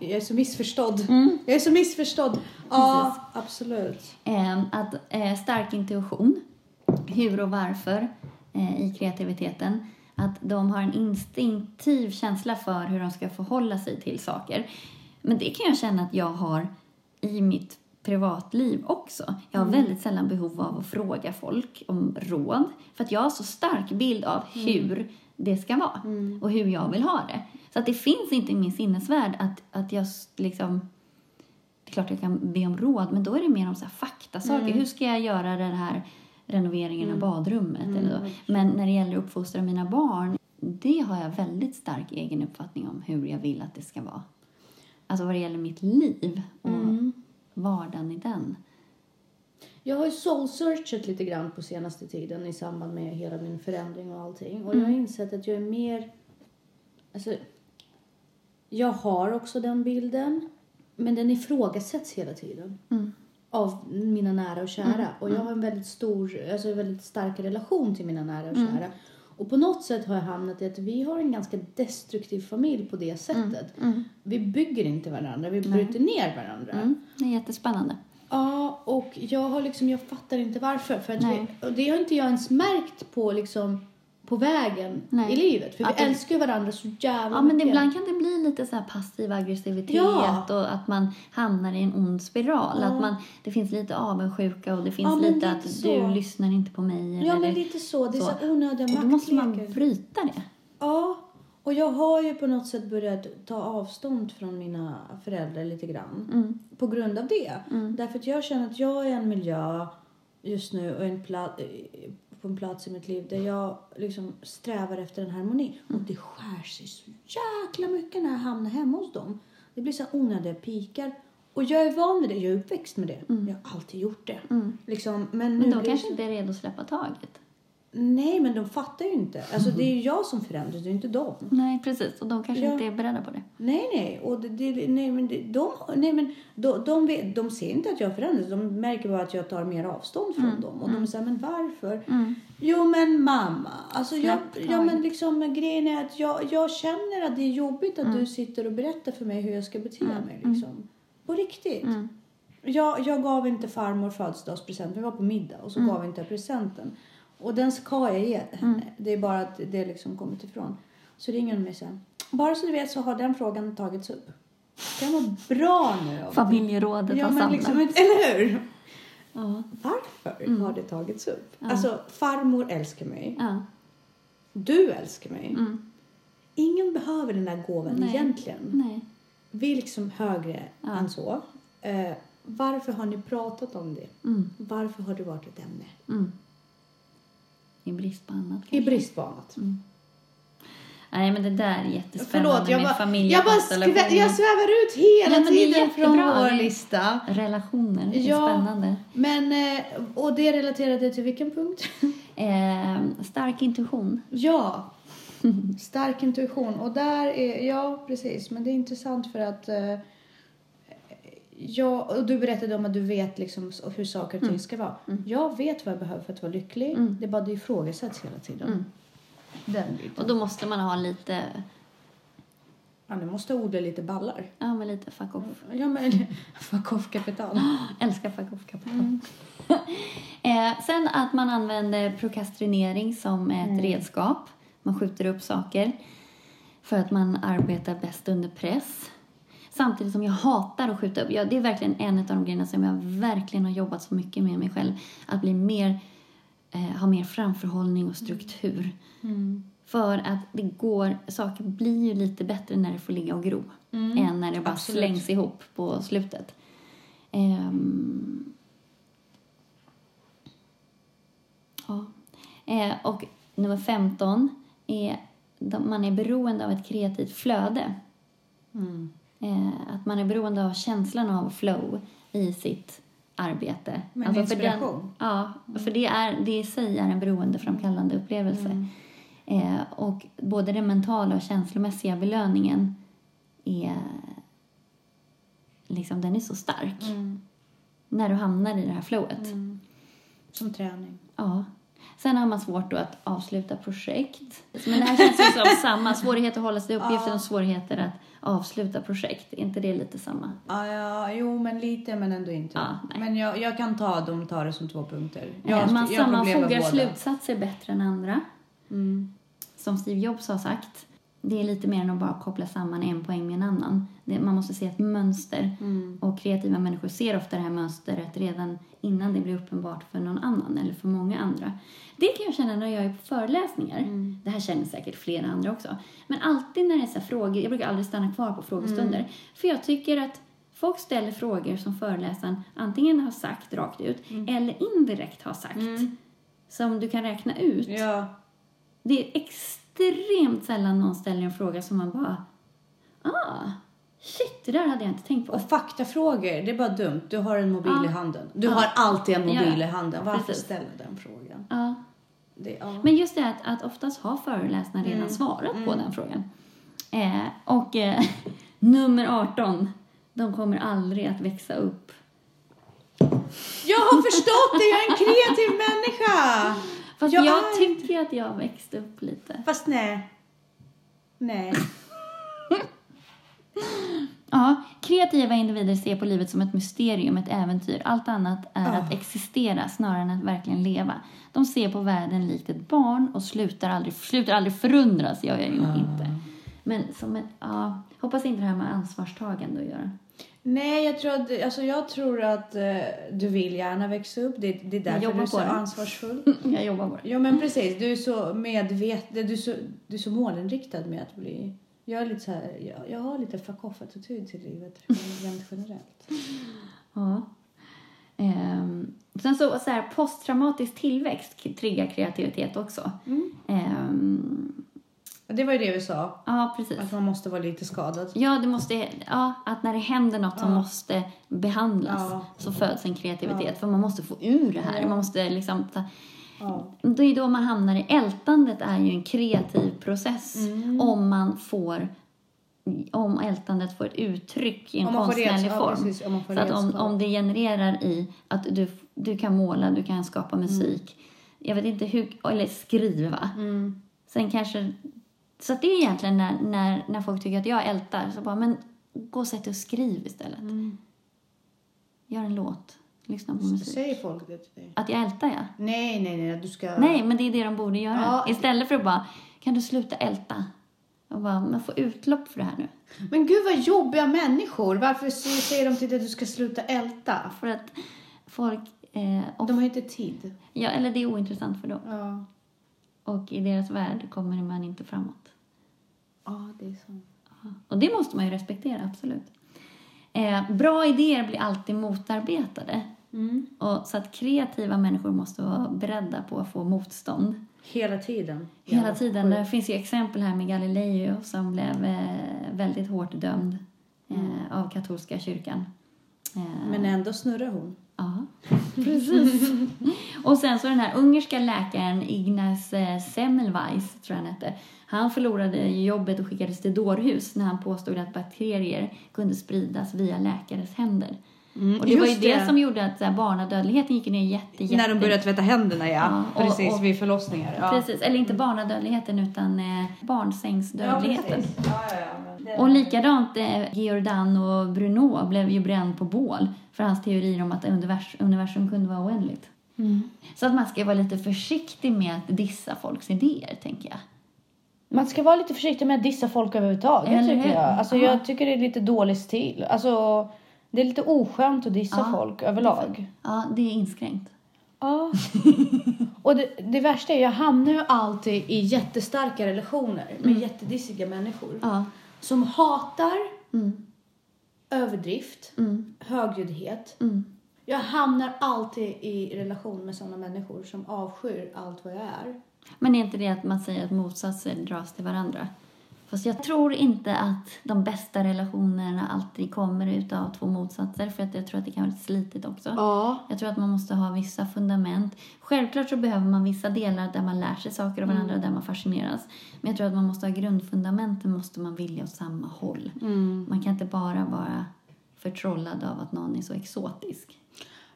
jag är så missförstådd.
Mm.
Jag är så missförstådd. Ja, absolut.
Eh, Att eh, stark intuition, hur och varför eh, i kreativiteten. Att de har en instinktiv känsla för hur de ska förhålla sig till saker. Men det kan jag känna att jag har i mitt privatliv också. Jag har väldigt sällan behov av att fråga folk om råd. För att jag har så stark bild av hur det ska vara och hur jag vill ha det. Så att det finns inte i min sinnesvärld att, att jag s- liksom... Det är klart jag kan be om råd, men då är det mer om så här faktasaker.
Mm.
Hur ska jag göra den här renoveringen av badrummet?
Mm,
Eller så. Men när det gäller att uppfostra mina barn, det har jag väldigt stark egen uppfattning om hur jag vill att det ska vara. Alltså vad det gäller mitt liv och
Mm.
vardagen i den.
Jag har ju soul-searchat lite grann på senaste tiden i samband med hela min förändring och allting. Och jag har insett att jag är mer... Alltså, jag har också den bilden, men den ifrågasätts hela tiden. Av mina nära och kära. Och jag har en väldigt stor, alltså en väldigt stark relation till mina nära och kära. Och på något sätt har jag hamnat i att vi har en ganska destruktiv familj på det sättet. Vi bygger inte varandra, vi bryter ner varandra.
Mm. Det är jättespännande.
Ja, och jag har liksom, jag fattar inte varför. För att
Nej.
vi, och det har inte jag ens märkt på liksom, på vägen
Nej.
i livet. För
Att
vi
det-
älskar ju varandra så jävla
Ja, men
mycket.
ibland kan det bli lite så här passiv aggressivitet
Ja.
och att man hamnar i en ond spiral. Att man, det finns lite avundsjuka och det finns
Ja, men
lite
lite
att
så.
du lyssnar inte på mig.
Ja, men
eller-
lite så. Det är
så.
så, onödiga
och då måste man
maktlekar.
bryta det.
Ja, och jag har ju på något sätt börjat ta avstånd från mina föräldrar lite grann.
Mm.
På grund av det. Därför att jag känner att jag är i en miljö just nu och en pla- eh, på en plats i mitt liv där jag liksom strävar efter en harmoni.
Mm.
Och det skär sig så jäkla mycket när jag hamnar hemma hos dem. Det blir så här onödiga pikar. Och jag är van vid det. Jag är uppväxt med det. Jag har alltid gjort det. Liksom,
Mm.
men nu
Men de
blir det
kanske
så-
inte är redo att släppa taget.
Nej, men de fattar ju inte. Alltså, Det är ju jag som förändras, det är inte de.
Nej, precis. Och de kanske
Ja.
inte är beredda på det.
Nej, nej. Och det, det, nej, men det, de, nej, men de, de, vet, de ser inte att jag förändras. De märker bara att jag tar mer avstånd från dem. Och de säger, men varför? Jo, men mamma. Alltså, jag,
Släpp
ja, men
taget.
liksom, men grejen är att jag, jag känner att det är jobbigt att du sitter och berättar för mig hur jag ska bete mig. Liksom. På riktigt. Jag, jag gav inte farmor födelsedagspresent. Vi var på middag och så
Mm.
gav inte jag presenten. Och den ska jag ge henne. Det är bara att det liksom kommit ifrån. Så ringer hon mig sen. Bara så du vet så har den frågan tagits upp. Det kan vara bra nu. om-
Familjerådet
Ja,
har
men
samlat.
liksom, eller hur?
Ja. Mm.
Varför har det tagits upp? Alltså, farmor älskar mig.
Ja.
Du älskar mig.
Mm.
Ingen behöver den där gåvan
Nej.
egentligen.
Nej.
Vi är liksom högre än så. Eh, varför har ni pratat om det?
Mm.
Varför har det varit ett ämne?
Mm. I brist på annat kanske.
I brist på annat.
Mm. Nej, men det där är jättespännande
Förlåt, jag
med
bara, jag, bara
familjekonstellationer.
skvä, jag svävar ut hela
Ja, men det är
tiden från
jättebra.
vår
Det är-
lista.
Relationer, det är
Ja.
spännande.
Men, eh, och det relaterade till vilken punkt?
Eh, stark intuition.
ja, stark intuition. Och där är, ja precis, men det är intressant för att eh, Ja, och du berättade om att du vet liksom s- hur saker och ting ska vara. Jag vet vad jag behöver för att vara lycklig. Det är bara det ifrågasätts hela tiden. Den
Och
biten.
då måste man ha lite,
Ja, nu måste jag odla lite ballar.
ja men lite fuck off.
Ja, men [laughs] fuck off kapital.
Älskar fuck off kapital. [laughs] eh, sen att man använder prokrastinering som ett redskap. Man skjuter upp saker för att man arbetar bäst under press. Samtidigt som jag hatar att skjuta upp. Ja, det är verkligen en av de grejerna som jag verkligen har jobbat så mycket med mig själv. Att bli mer, eh, ha mer framförhållning och struktur. För att det går, saker blir ju lite bättre när det får ligga och gro. Än när det bara slängs ihop på slutet. Ehm. Ja. Eh, och nummer 15 är de- man är beroende av ett kreativt flöde.
Mm.
Eh, att man är beroende av känslan av flow i sitt arbete. Alltså
Men
för den-
inspiration. Mm.
Ja, för det, är, det i sig är en beroendeframkallande upplevelse.
Mm.
Eh, och både den mentala och känslomässiga belöningen är liksom, den är så stark.
Mm.
När du hamnar i det här flowet.
Som träning.
Ja. Sen har man svårt då att avsluta projekt. Men det här känns ju [laughs] som samma. Svårighet att hålla sig i uppgiften och svårigheter att avsluta projekt. Är inte det lite samma?
Ja, ja, jo, men lite, men ändå inte.
Ja, nej.
men jag, jag kan ta dem, ta det som två punkter. Jag,
Eh, man
jag har problem med
sammanfogar
båda. Mm.
slutsatser bättre än andra. som Steve Jobs har sagt, det är lite mer än att bara koppla samman en poäng med en annan. Det, man måste se ett mönster.
Mm.
Och kreativa människor ser ofta det här mönstret redan innan det blir uppenbart för någon annan eller för många andra. Det kan jag känna när jag är på föreläsningar. Det här känner säkert flera andra också. Men alltid när det är så här frågor, jag brukar aldrig stanna kvar på frågestunder. För jag tycker att folk ställer frågor som föreläsaren antingen har sagt rakt ut eller indirekt har sagt. Som du kan räkna ut.
Ja.
Det är extremt sällan någon ställer en fråga som man bara ah, shit, det där hade jag inte tänkt på.
Och faktafrågor, det är bara dumt. Du har en mobil
Ja.
i handen. Du har alltid en mobil
Ja, ja.
i handen. Varför
Precis.
ställa den frågan?
Ja.
Det,
[laughs]
ja.
Men just det att, att oftast har föreläsaren redan svarat på den frågan. Eh, och eh, [laughs] nummer 18, de kommer aldrig att växa upp.
Jag har förstått det, jag är en kreativ människa!
Fast jag,
Jag är
tycker att jag växte upp lite.
Fast nej. Nej.
Ja, kreativa individer ser på livet som ett mysterium, ett äventyr. Allt annat är att existera snarare än att verkligen leva. De ser på världen likt ett barn och slutar aldrig, slutar aldrig förundras, gör jag ju inte. Men som ett, ja, hoppas inte det här med ansvarstagande att göra.
Nej, jag tror att, alltså jag tror att eh, du vill gärna växa upp. Det, det är därför
jobbar
du är
på
så
det.
ansvarsfull.
Mm, Jag jobbar bara.
Jo men precis, du är så medveten, du är så, du är så målinriktad med att bli... Jag är lite så här, jag, jag har lite fuck off-attityd till livet rent generellt.
Ja. Ehm, sen så, så här, posttraumatisk tillväxt k- triggar kreativitet också.
Mm.
Ehm,
Och Det var ju det vi sa,
ja, precis.
att man måste vara lite skadad.
Ja, det måste, ja, att när det händer något som måste behandlas
Ja.
så föds en kreativitet. För man måste få ur det här. Man måste liksom, ta,
Ja.
det är då man hamnar i ältandet är ju en kreativ process.
Mm.
Om man får om ältandet får ett uttryck i en
Om man får
konstnärlig
reds- ja,
form.
precis, om man får
så att om,
redskap.
om det genererar i att du, du kan måla, du kan skapa
Mm.
musik. Jag vet inte hur, eller skriva.
Mm.
Sen kanske, så att det är egentligen när, när, när folk tycker att jag ältar, så bara, men gå och sätt dig och skriv istället.
Mm.
Gör en låt, lyssna på musik.
Säger folk det till dig?
Att jag ältar, ja.
Nej, nej, nej, du ska...
Nej, men det är det de borde göra.
Ja.
Istället för att bara, kan du sluta älta? Och bara, men få utlopp för det här nu.
Men gud vad jobbiga människor! Varför s- säger de till dig att du ska sluta älta?
För att folk, eh, och,
De har ju inte tid.
ja, eller det är ointressant för dem.
Ja,
Och i deras värld kommer man inte framåt.
ja det är sant.
Och det måste man ju respektera, absolut. Eh, bra idéer blir alltid motarbetade. Och, så att kreativa människor måste vara beredda på att få motstånd.
Hela tiden.
Hela tiden. Det finns ju exempel här med Galileo som blev eh, väldigt hårt dömd eh, av katolska kyrkan. Eh,
Men ändå snurrar hon.
Ja, precis. [laughs] och sen så den här ungerska läkaren Ignaz eh, Semmelweis, tror jag han hette. Han förlorade ju jobbet och skickades till dårhus när han påstod att bakterier kunde spridas via läkares händer. och Mm, det var ju
Mm, just
det,
det.
som gjorde att så här, barnadödligheten gick ner jätte, jätte...
När de börjar tvätta händerna, ja.
Ja, och-
precis,
och-
vid förlossningar. Ja.
Precis, eller inte barnadödligheten utan eh, barnsängsdödligheten.
Ja, ja, ja, men det-
Och likadant eh, Giordano Bruno blev ju bränd på bål för hans teorier om att univers- universum kunde vara oändligt. Så att man ska vara lite försiktig med att dissa folks idéer, tänker jag.
Man ska vara lite försiktig med att dissa folk överhuvudtaget
Eller hur?
tycker jag. Alltså,
Ja.
jag tycker det är lite dålig stil. Alltså, det är lite oskönt att dissa
Ja,
folk överlag.
Ja, det är inskränkt.
Ja.
[laughs] Och det, det värsta är, jag hamnar ju alltid i jättestarka relationer med
Mm.
jättedissiga människor.
Ja.
Som hatar
Mm.
överdrift,
Mm.
högljuddhet.
Mm.
Jag hamnar alltid i relation med sådana människor som avskyr allt vad jag är.
Men är inte det att man säger att motsatser dras till varandra? Fast jag tror inte att de bästa relationerna alltid kommer utav två motsatser för att jag tror att det kan vara lite slitigt också.
Ja.
Jag tror att man måste ha vissa fundament. Självklart så behöver man vissa delar där man lär sig saker av varandra och
Mm.
där man fascineras. Men jag tror att man måste ha grundfundamenten, måste man vilja åt samma håll.
Mm.
Man kan inte bara vara förtrollad av att någon är så exotisk.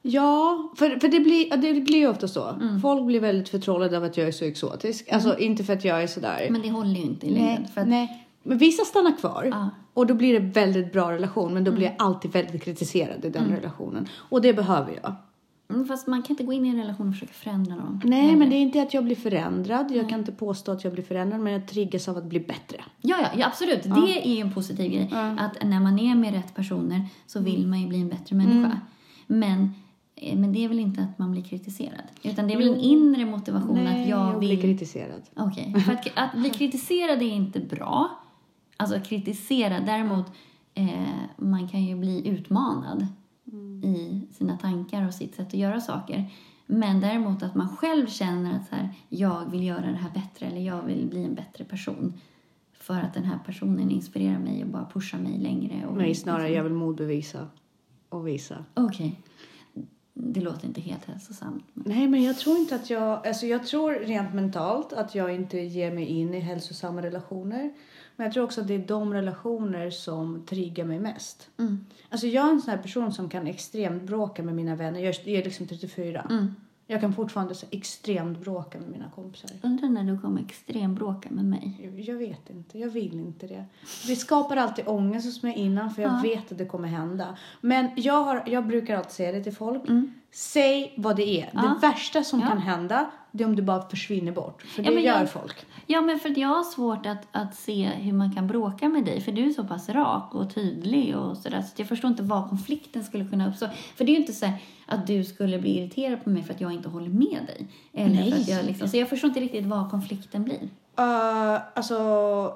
Ja, för, för det, blir, ja, det blir ju ofta så. Folk blir väldigt förtrollade av att jag är så exotisk. Alltså inte för att jag är sådär.
Men det håller ju inte i längden.
nej,
För att,
nej. Men vissa stannar kvar.
Ja.
Och då blir det Mm. väldigt bra relation. Men då blir jag alltid väldigt kritiserad i den relationen. Och det behöver jag.
Mm, Fast man kan inte gå in i en relation och försöka förändra någon.
Nej, men det är inte att jag blir förändrad. Jag kan inte påstå att jag blir förändrad, men jag triggas av att bli bättre.
Ja, ja, ja absolut. Det är ju en positiv grej. Att när man är med rätt personer så vill man ju bli en bättre människa. Men, eh, men det är väl inte att man blir kritiserad? Utan det är väl en inre motivation att jag
blir
vill...
kritiserad.
Okej, för att, att bli kritiserad är inte bra. Alltså kritisera, däremot eh, man kan ju bli utmanad
Mm.
i sina tankar och sitt sätt att göra saker. Men däremot att man själv känner att så här, jag vill göra det här bättre eller jag vill bli en bättre person för att den här personen inspirerar mig och bara pushar mig längre. Och
Nej, snarare jag vill modbevisa och visa.
Okej. Det låter inte helt hälsosamt. men-
Nej, men jag tror inte att jag... Alltså jag tror rent mentalt att jag inte ger mig in i hälsosamma relationer. Men jag tror också att det är de relationer som triggar mig mest.
Mm.
Alltså jag är en sån här person som kan extremt bråka med mina vänner. Jag är liksom 34.
Mm.
Jag kan fortfarande så extremt bråka med mina kompisar.
Undrar när du kommer extrembråka med mig.
Jag vet inte, jag vill inte det. Det skapar alltid ångest hos mig innan för jag
Ja.
vet att det kommer hända. Men jag, har, jag brukar alltid säga det till folk.
Mm.
Säg vad det är.
Ja.
Det värsta som
Ja.
kan hända det är om du bara försvinner bort. För
Ja,
det
men
gör
jag-
folk.
Ja, men för att jag har svårt att, att se hur man kan bråka med dig. För du är så pass rak och tydlig och sådär. Så jag förstår inte var konflikten skulle kunna uppstå. För det är ju inte så här att du skulle bli irriterad på mig för att jag inte håller med dig. Eller För att jag liksom, så jag förstår inte riktigt var konflikten blir.
Uh, alltså,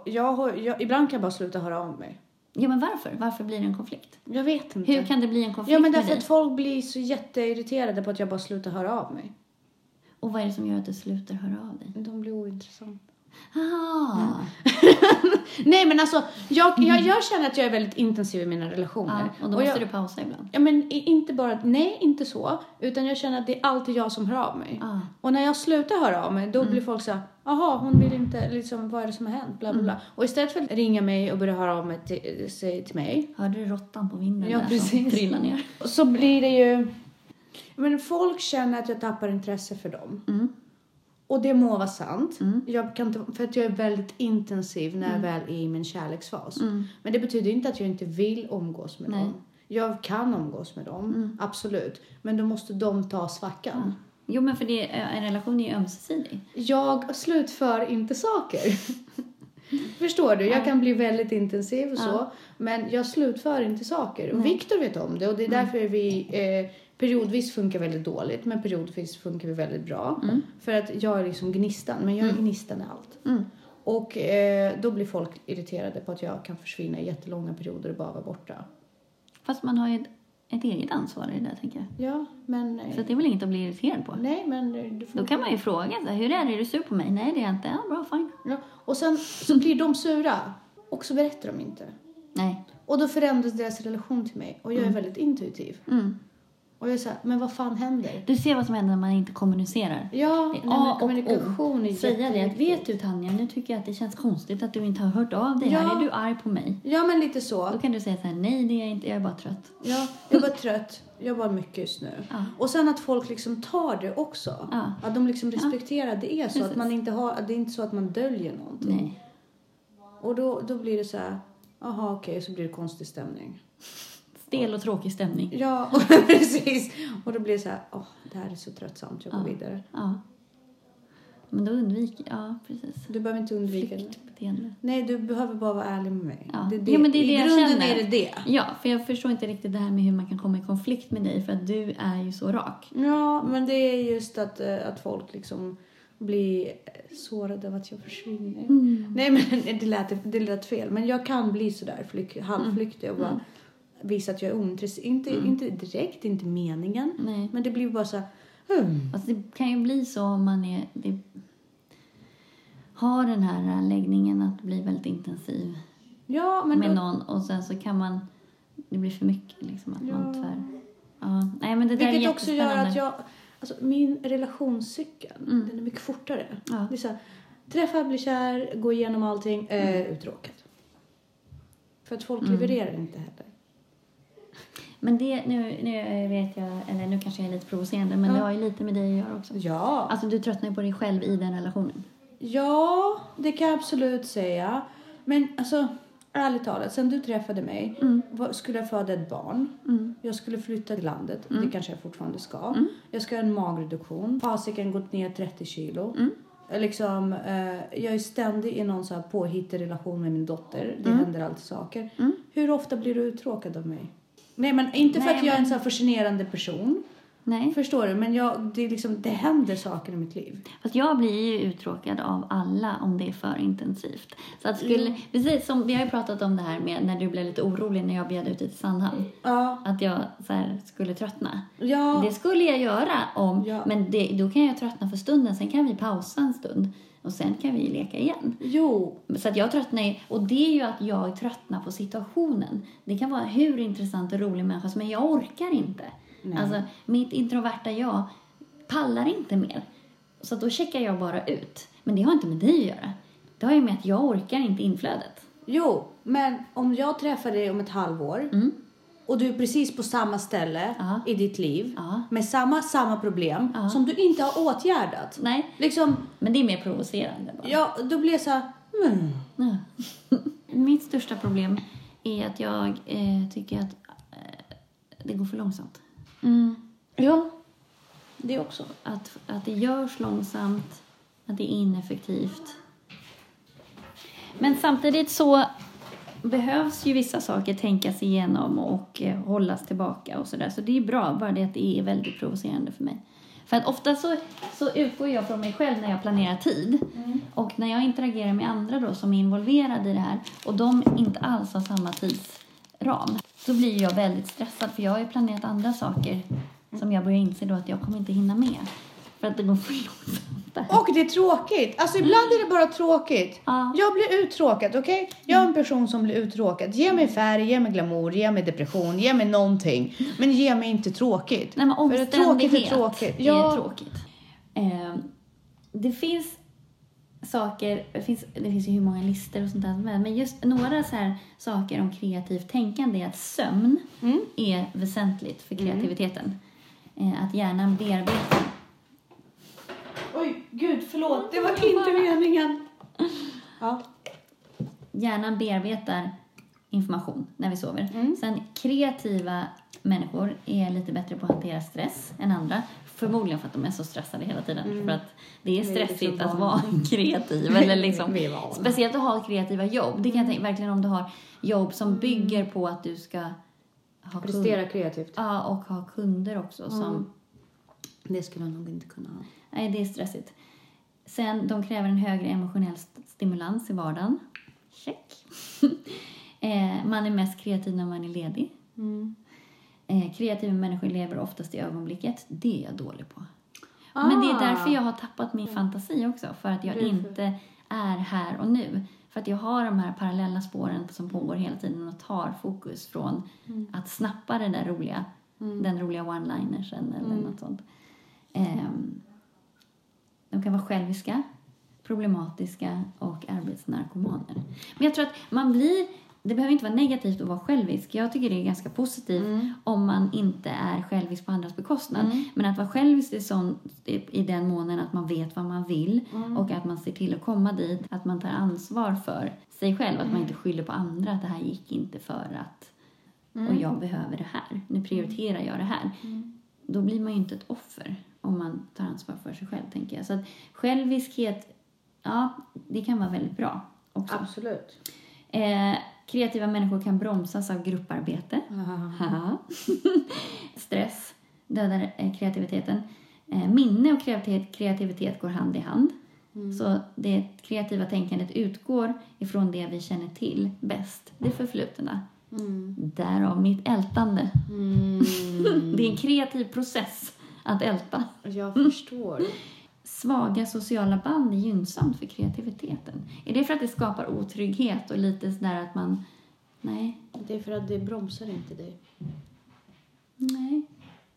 jag, har- jag, ibland kan jag bara sluta höra av mig.
Ja, men varför? Varför blir det en konflikt?
Jag vet inte.
Hur kan det bli en konflikt
ja, men
med
därför
dig?
att folk blir så jätteirriterade på att jag bara slutar höra av mig.
Och vad är det som gör att du slutar höra av dig?
De blir ointressanta.
Ah,
Nej, men alltså, jag, jag, jag känner att jag är väldigt intensiv i mina relationer.
ja, och då
Och
måste
jag,
du pausa ibland.
Ja, men i- inte bara, nej, inte så. Utan jag känner att det är alltid jag som hör av mig.
Ah.
Och när jag slutar höra av mig, då
Mm.
blir folk så här, jaha, hon vill inte, liksom, vad är det som har hänt, bla bla
Mm.
bla. Och istället för att ringa mig och börja höra av mig till, sig till mig,
Hörde du råttan på vinden
Ja,
där som
precis.
trillade ner?
så blir det ju... Men folk känner att jag tappar intresse för dem.
Mm.
Och det må vara sant.
Mm.
Jag kan inte, för att jag är väldigt intensiv när jag väl är i min kärleksfas. Men det betyder inte att jag inte vill omgås med
Nej. Mm.
dem. Jag kan omgås med dem, absolut. Men då måste de ta svackan.
Jo, men för det, eh, en relation är ju ömsesidig.
Jag slutför inte saker.
[laughs]
Förstår du? Jag kan bli väldigt intensiv och så. Men jag slutför inte saker. Och Viktor vet om det och det är
Mm.
därför vi eh, periodvis funkar väldigt dåligt. Men periodvis funkar vi väldigt bra. För att jag är liksom gnistan. Men jag är gnistan i allt.
Mm.
Och eh, då blir folk irriterade på att jag kan försvinna i jättelånga perioder och bara vara borta.
Fast man har ju ett, ett eget ansvar i det där, tänker jag.
Ja, men...
Så
Eh,
det är väl inget att bli irriterad på.
nej, men eh, du får
Då kan man ju fråga så här, hur är det, är du sur på mig? Nej, det är jag inte. Ja, bra, fine.
Ja, och sen så blir de sura och så berättar de inte.
Nej.
Och då förändras deras relation till mig och jag är väldigt intuitiv.
Mm.
Och jag är så här, men vad fan händer?
Du ser vad som händer när man inte kommunicerar.
Ja,
Det är
nej,
A
men
och
kommunikation
O.
är
Säga det att,
jätteviktigt.
vet du Tanja, nu tycker jag att det känns konstigt att du inte har hört av dig här.
Ja.
Är du arg på mig?
Ja, men lite
Då
så.
kan du säga så här, nej det är jag inte, jag är bara trött.
Ja, jag var trött. Jag var mycket just nu.
Ja.
Och sen att folk liksom tar det också.
Ja.
Att de liksom respekterar att det är så. Att
Precis.
man inte har, att det är inte så att man döljer någonting.
Nej.
Och då, då blir det så här, jaha okej, så blir det konstig stämning.
Stel och tråkig stämning.
Ja, [laughs] och, precis. Och då blir det så här, åh, det här är så tröttsamt, jag går vidare.
Ja. Men då undviker, ja precis.
Du behöver inte undvika det.
Flyktbeteende.
Nej, du behöver bara vara ärlig med mig.
Ja. Jo, men det är
I
det jag
grunden
känner.
är det det.
Ja, för jag förstår inte riktigt det här med hur man kan komma i konflikt med dig för att du är ju så rak.
Ja, men det är just att, eh, att folk liksom blir eh, sårade av att jag försvinner.
Mm.
Nej, men [laughs] det lät, det lät fel. Men jag kan bli sådär flyk, halvflyktig
Mm.
och bara visa att jag är ointresserad. Inte, inte direkt, inte meningen.
Nej.
Men det blir bara så här, hmm.
Alltså det kan ju bli så om man är, det, har den här läggningen att bli väldigt intensiv
Ja, men
med
då,
någon och sen så kan man, det blir för mycket liksom att man
Ja.
tvär. Ja, nej men det där är
vilket också gör
jättespännande. Mm.
att jag... Alltså, min relationscykel, den är mycket fortare.
Ja.
Det är så här, träffa, bli kär, gå igenom allting,
Mm.
eh, uttråkad. För att folk levererar inte heller.
Men det, nu, nu vet jag, eller nu kanske jag är lite provocerande, men
Ja.
det har ju lite med dig att göra också.
Ja.
Alltså du tröttnar ju på dig själv i den relationen.
Ja, det kan jag absolut säga. Men alltså, ärligt talat, sen du träffade mig
Mm.
vad- skulle jag föda ett barn.
Mm.
Jag skulle flytta till landet, det kanske jag fortfarande ska. Jag ska ha en magreduktion. Fasiken gått ner 30 kilo.
Mm.
Liksom, eh, jag är ständig i någon så här påhittig relation med min dotter. Det händer alltid saker.
Mm.
Hur ofta blir du uttråkad av mig? Nej men inte för
Nej,
att jag är en
men-
så här fascinerande person.
Nej.
Förstår du? Men jag, det, är liksom, det händer saker i mitt liv.
Fast jag blir ju uttråkad av alla om det är för intensivt. Så att skulle, precis som vi har ju pratat om det här med när du blev lite orolig när jag bjöd ut dig till Sandhamn.
Ja,
Att jag så här skulle tröttna.
ja.
Det skulle jag göra om,
Ja.
men det, då kan jag tröttna för stunden. Sen kan vi pausa en stund och sen kan vi leka igen.
Jo,
Så att jag tröttnar ju, och det är ju att jag tröttnar på situationen. Det kan vara hur intressant och rolig människa som men jag orkar inte. Alltså, mitt introverta jag pallar inte mer. Så att då checkar jag bara ut. Men det har inte med dig att göra. Det har ju med att jag orkar inte inflödet.
jo. Men om jag träffar dig om ett halvår och du är precis på samma ställe
Mm. Ja.
i ditt liv
Ja.
med samma, samma problem
Ja.
som du inte har åtgärdat.
Nej,
Liksom,
men det är mer provocerande bara.
ja, då blir jag så här, mm.
Ja. [laughs] Mitt största problem är att jag eh, tycker att eh, det går för långsamt.
Ja, det också.
Att, att det görs långsamt, att det är ineffektivt. Men samtidigt så behövs ju vissa saker tänkas igenom och eh, hållas tillbaka och sådär. Så det är bra, bara det att det är väldigt provocerande för mig. För att ofta så, så utgår jag från mig själv när jag planerar tid. Och när jag interagerar med andra då som är involverade i det här och de inte alls har samma tidsram, då blir jag väldigt stressad för jag har ju planerat andra saker som jag börjar inse då att jag kommer inte hinna med. För att det går för långsamt där.
Och det är tråkigt. Alltså ibland är det bara tråkigt.
Mm. Ja.
Jag blir uttråkad, okej? Jag är en person som blir uttråkad. Ge mig färg, ge mig glamour, ge mig depression, ge mig någonting. Men ge mig inte tråkigt.
Nej, men
För
omständighet
det tråkigt är tråkigt.
är
Ja.
tråkigt. Eh, det finns saker, det finns, det finns ju hur många listor och sånt där som är, men just några så här saker om kreativt tänkande är att sömn
Mm.
är väsentligt för kreativiteten. Eh, att hjärnan bearbetar.
Oj, gud förlåt. Det var inte meningen.
Ja.
Hjärnan bearbetar information när vi sover.
Mm.
Sen kreativa människor är lite bättre på att hantera stress än andra. Förmodligen för att de är så stressade hela tiden. För att det är
Vi Mm. är liksom
stressigt att
vana.
vara [laughs] kreativ. Eller
Vi
liksom,
är vana.
speciellt att ha kreativa jobb. Det kan jag tänka, verkligen om du har jobb som bygger på att du ska ha kunder.
Mm. Prestera Mm. kreativt.
Ja, och ha kunder också som
Det skulle jag nog inte kunna ha.
Nej, det är stressigt. Sen, de kräver en högre emotionell st- stimulans i vardagen. Check. [laughs] eh, man är mest kreativ när man är ledig. Eh, kreativa människor lever oftast i ögonblicket. Det är jag dålig på. Men det är därför jag har tappat min fantasi också. För att jag inte är här och nu. För att jag har de här parallella spåren som pågår hela tiden och tar fokus från att snappa det där roliga, den roliga one-linersen eller något sånt. Ehm, de kan vara själviska, problematiska och arbetsnarkomaner. Men jag tror att man blir... Det behöver inte vara negativt att vara självisk. Jag tycker det är ganska positivt om man inte är självisk på andras bekostnad. Men att vara självisk är sån, i den månen att man vet vad man vill och att man ser till att komma dit. Att man tar ansvar för sig själv. Att man inte skyller på andra att det här gick inte för att och jag behöver det här. Nu prioriterar jag det här. Då blir man ju inte ett offer om man tar ansvar för sig själv, tänker jag. Så att själviskhet, ja, det kan vara väldigt bra också.
Absolut.
Eh, kreativa människor kan bromsas av grupparbete. Haha. [laughs] Stress dödar eh, kreativiteten. Eh, minne och kreativitet, kreativitet går hand i hand. Så det kreativa tänkandet utgår ifrån det vi känner till bäst, det förflutna. Därav mitt ältande.
Mm,
[laughs] det är en kreativ process att älta.
Jag
Mm.
förstår.
Svaga sociala band är gynnsamt för kreativiteten. Är det för att det skapar otrygghet och lite sådär att man... Nej,
Det är för att det bromsar inte dig.
nej,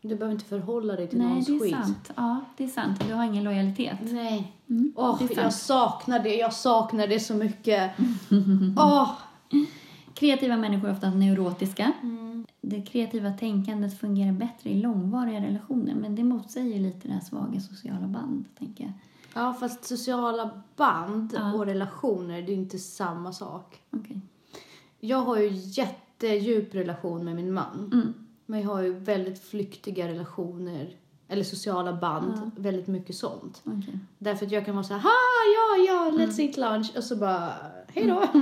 Du behöver inte förhålla dig till
nej
någons
det är
skit.
sant. Ja, det är sant. Du har ingen lojalitet.
Nej.
Mm,
Åh,
det är sant.
jag saknar det. Jag saknar det så
[laughs]
mycket. Åh!
Kreativa människor är ofta neurotiska. Det kreativa tänkandet fungerar bättre i långvariga relationer men det motsäger ju lite det här svaga sociala band, tänker jag.
Ja, fast sociala band
Ja.
och relationer, det är inte samma sak.
Okej.
Jag har ju jättedjup relation med min man.
Mm.
Men jag har ju väldigt flyktiga relationer, eller sociala band, väldigt mycket sånt.
Okej.
Därför att jag kan vara så här, ha, ja, ja, let's eat lunch och så bara, hej då. [laughs]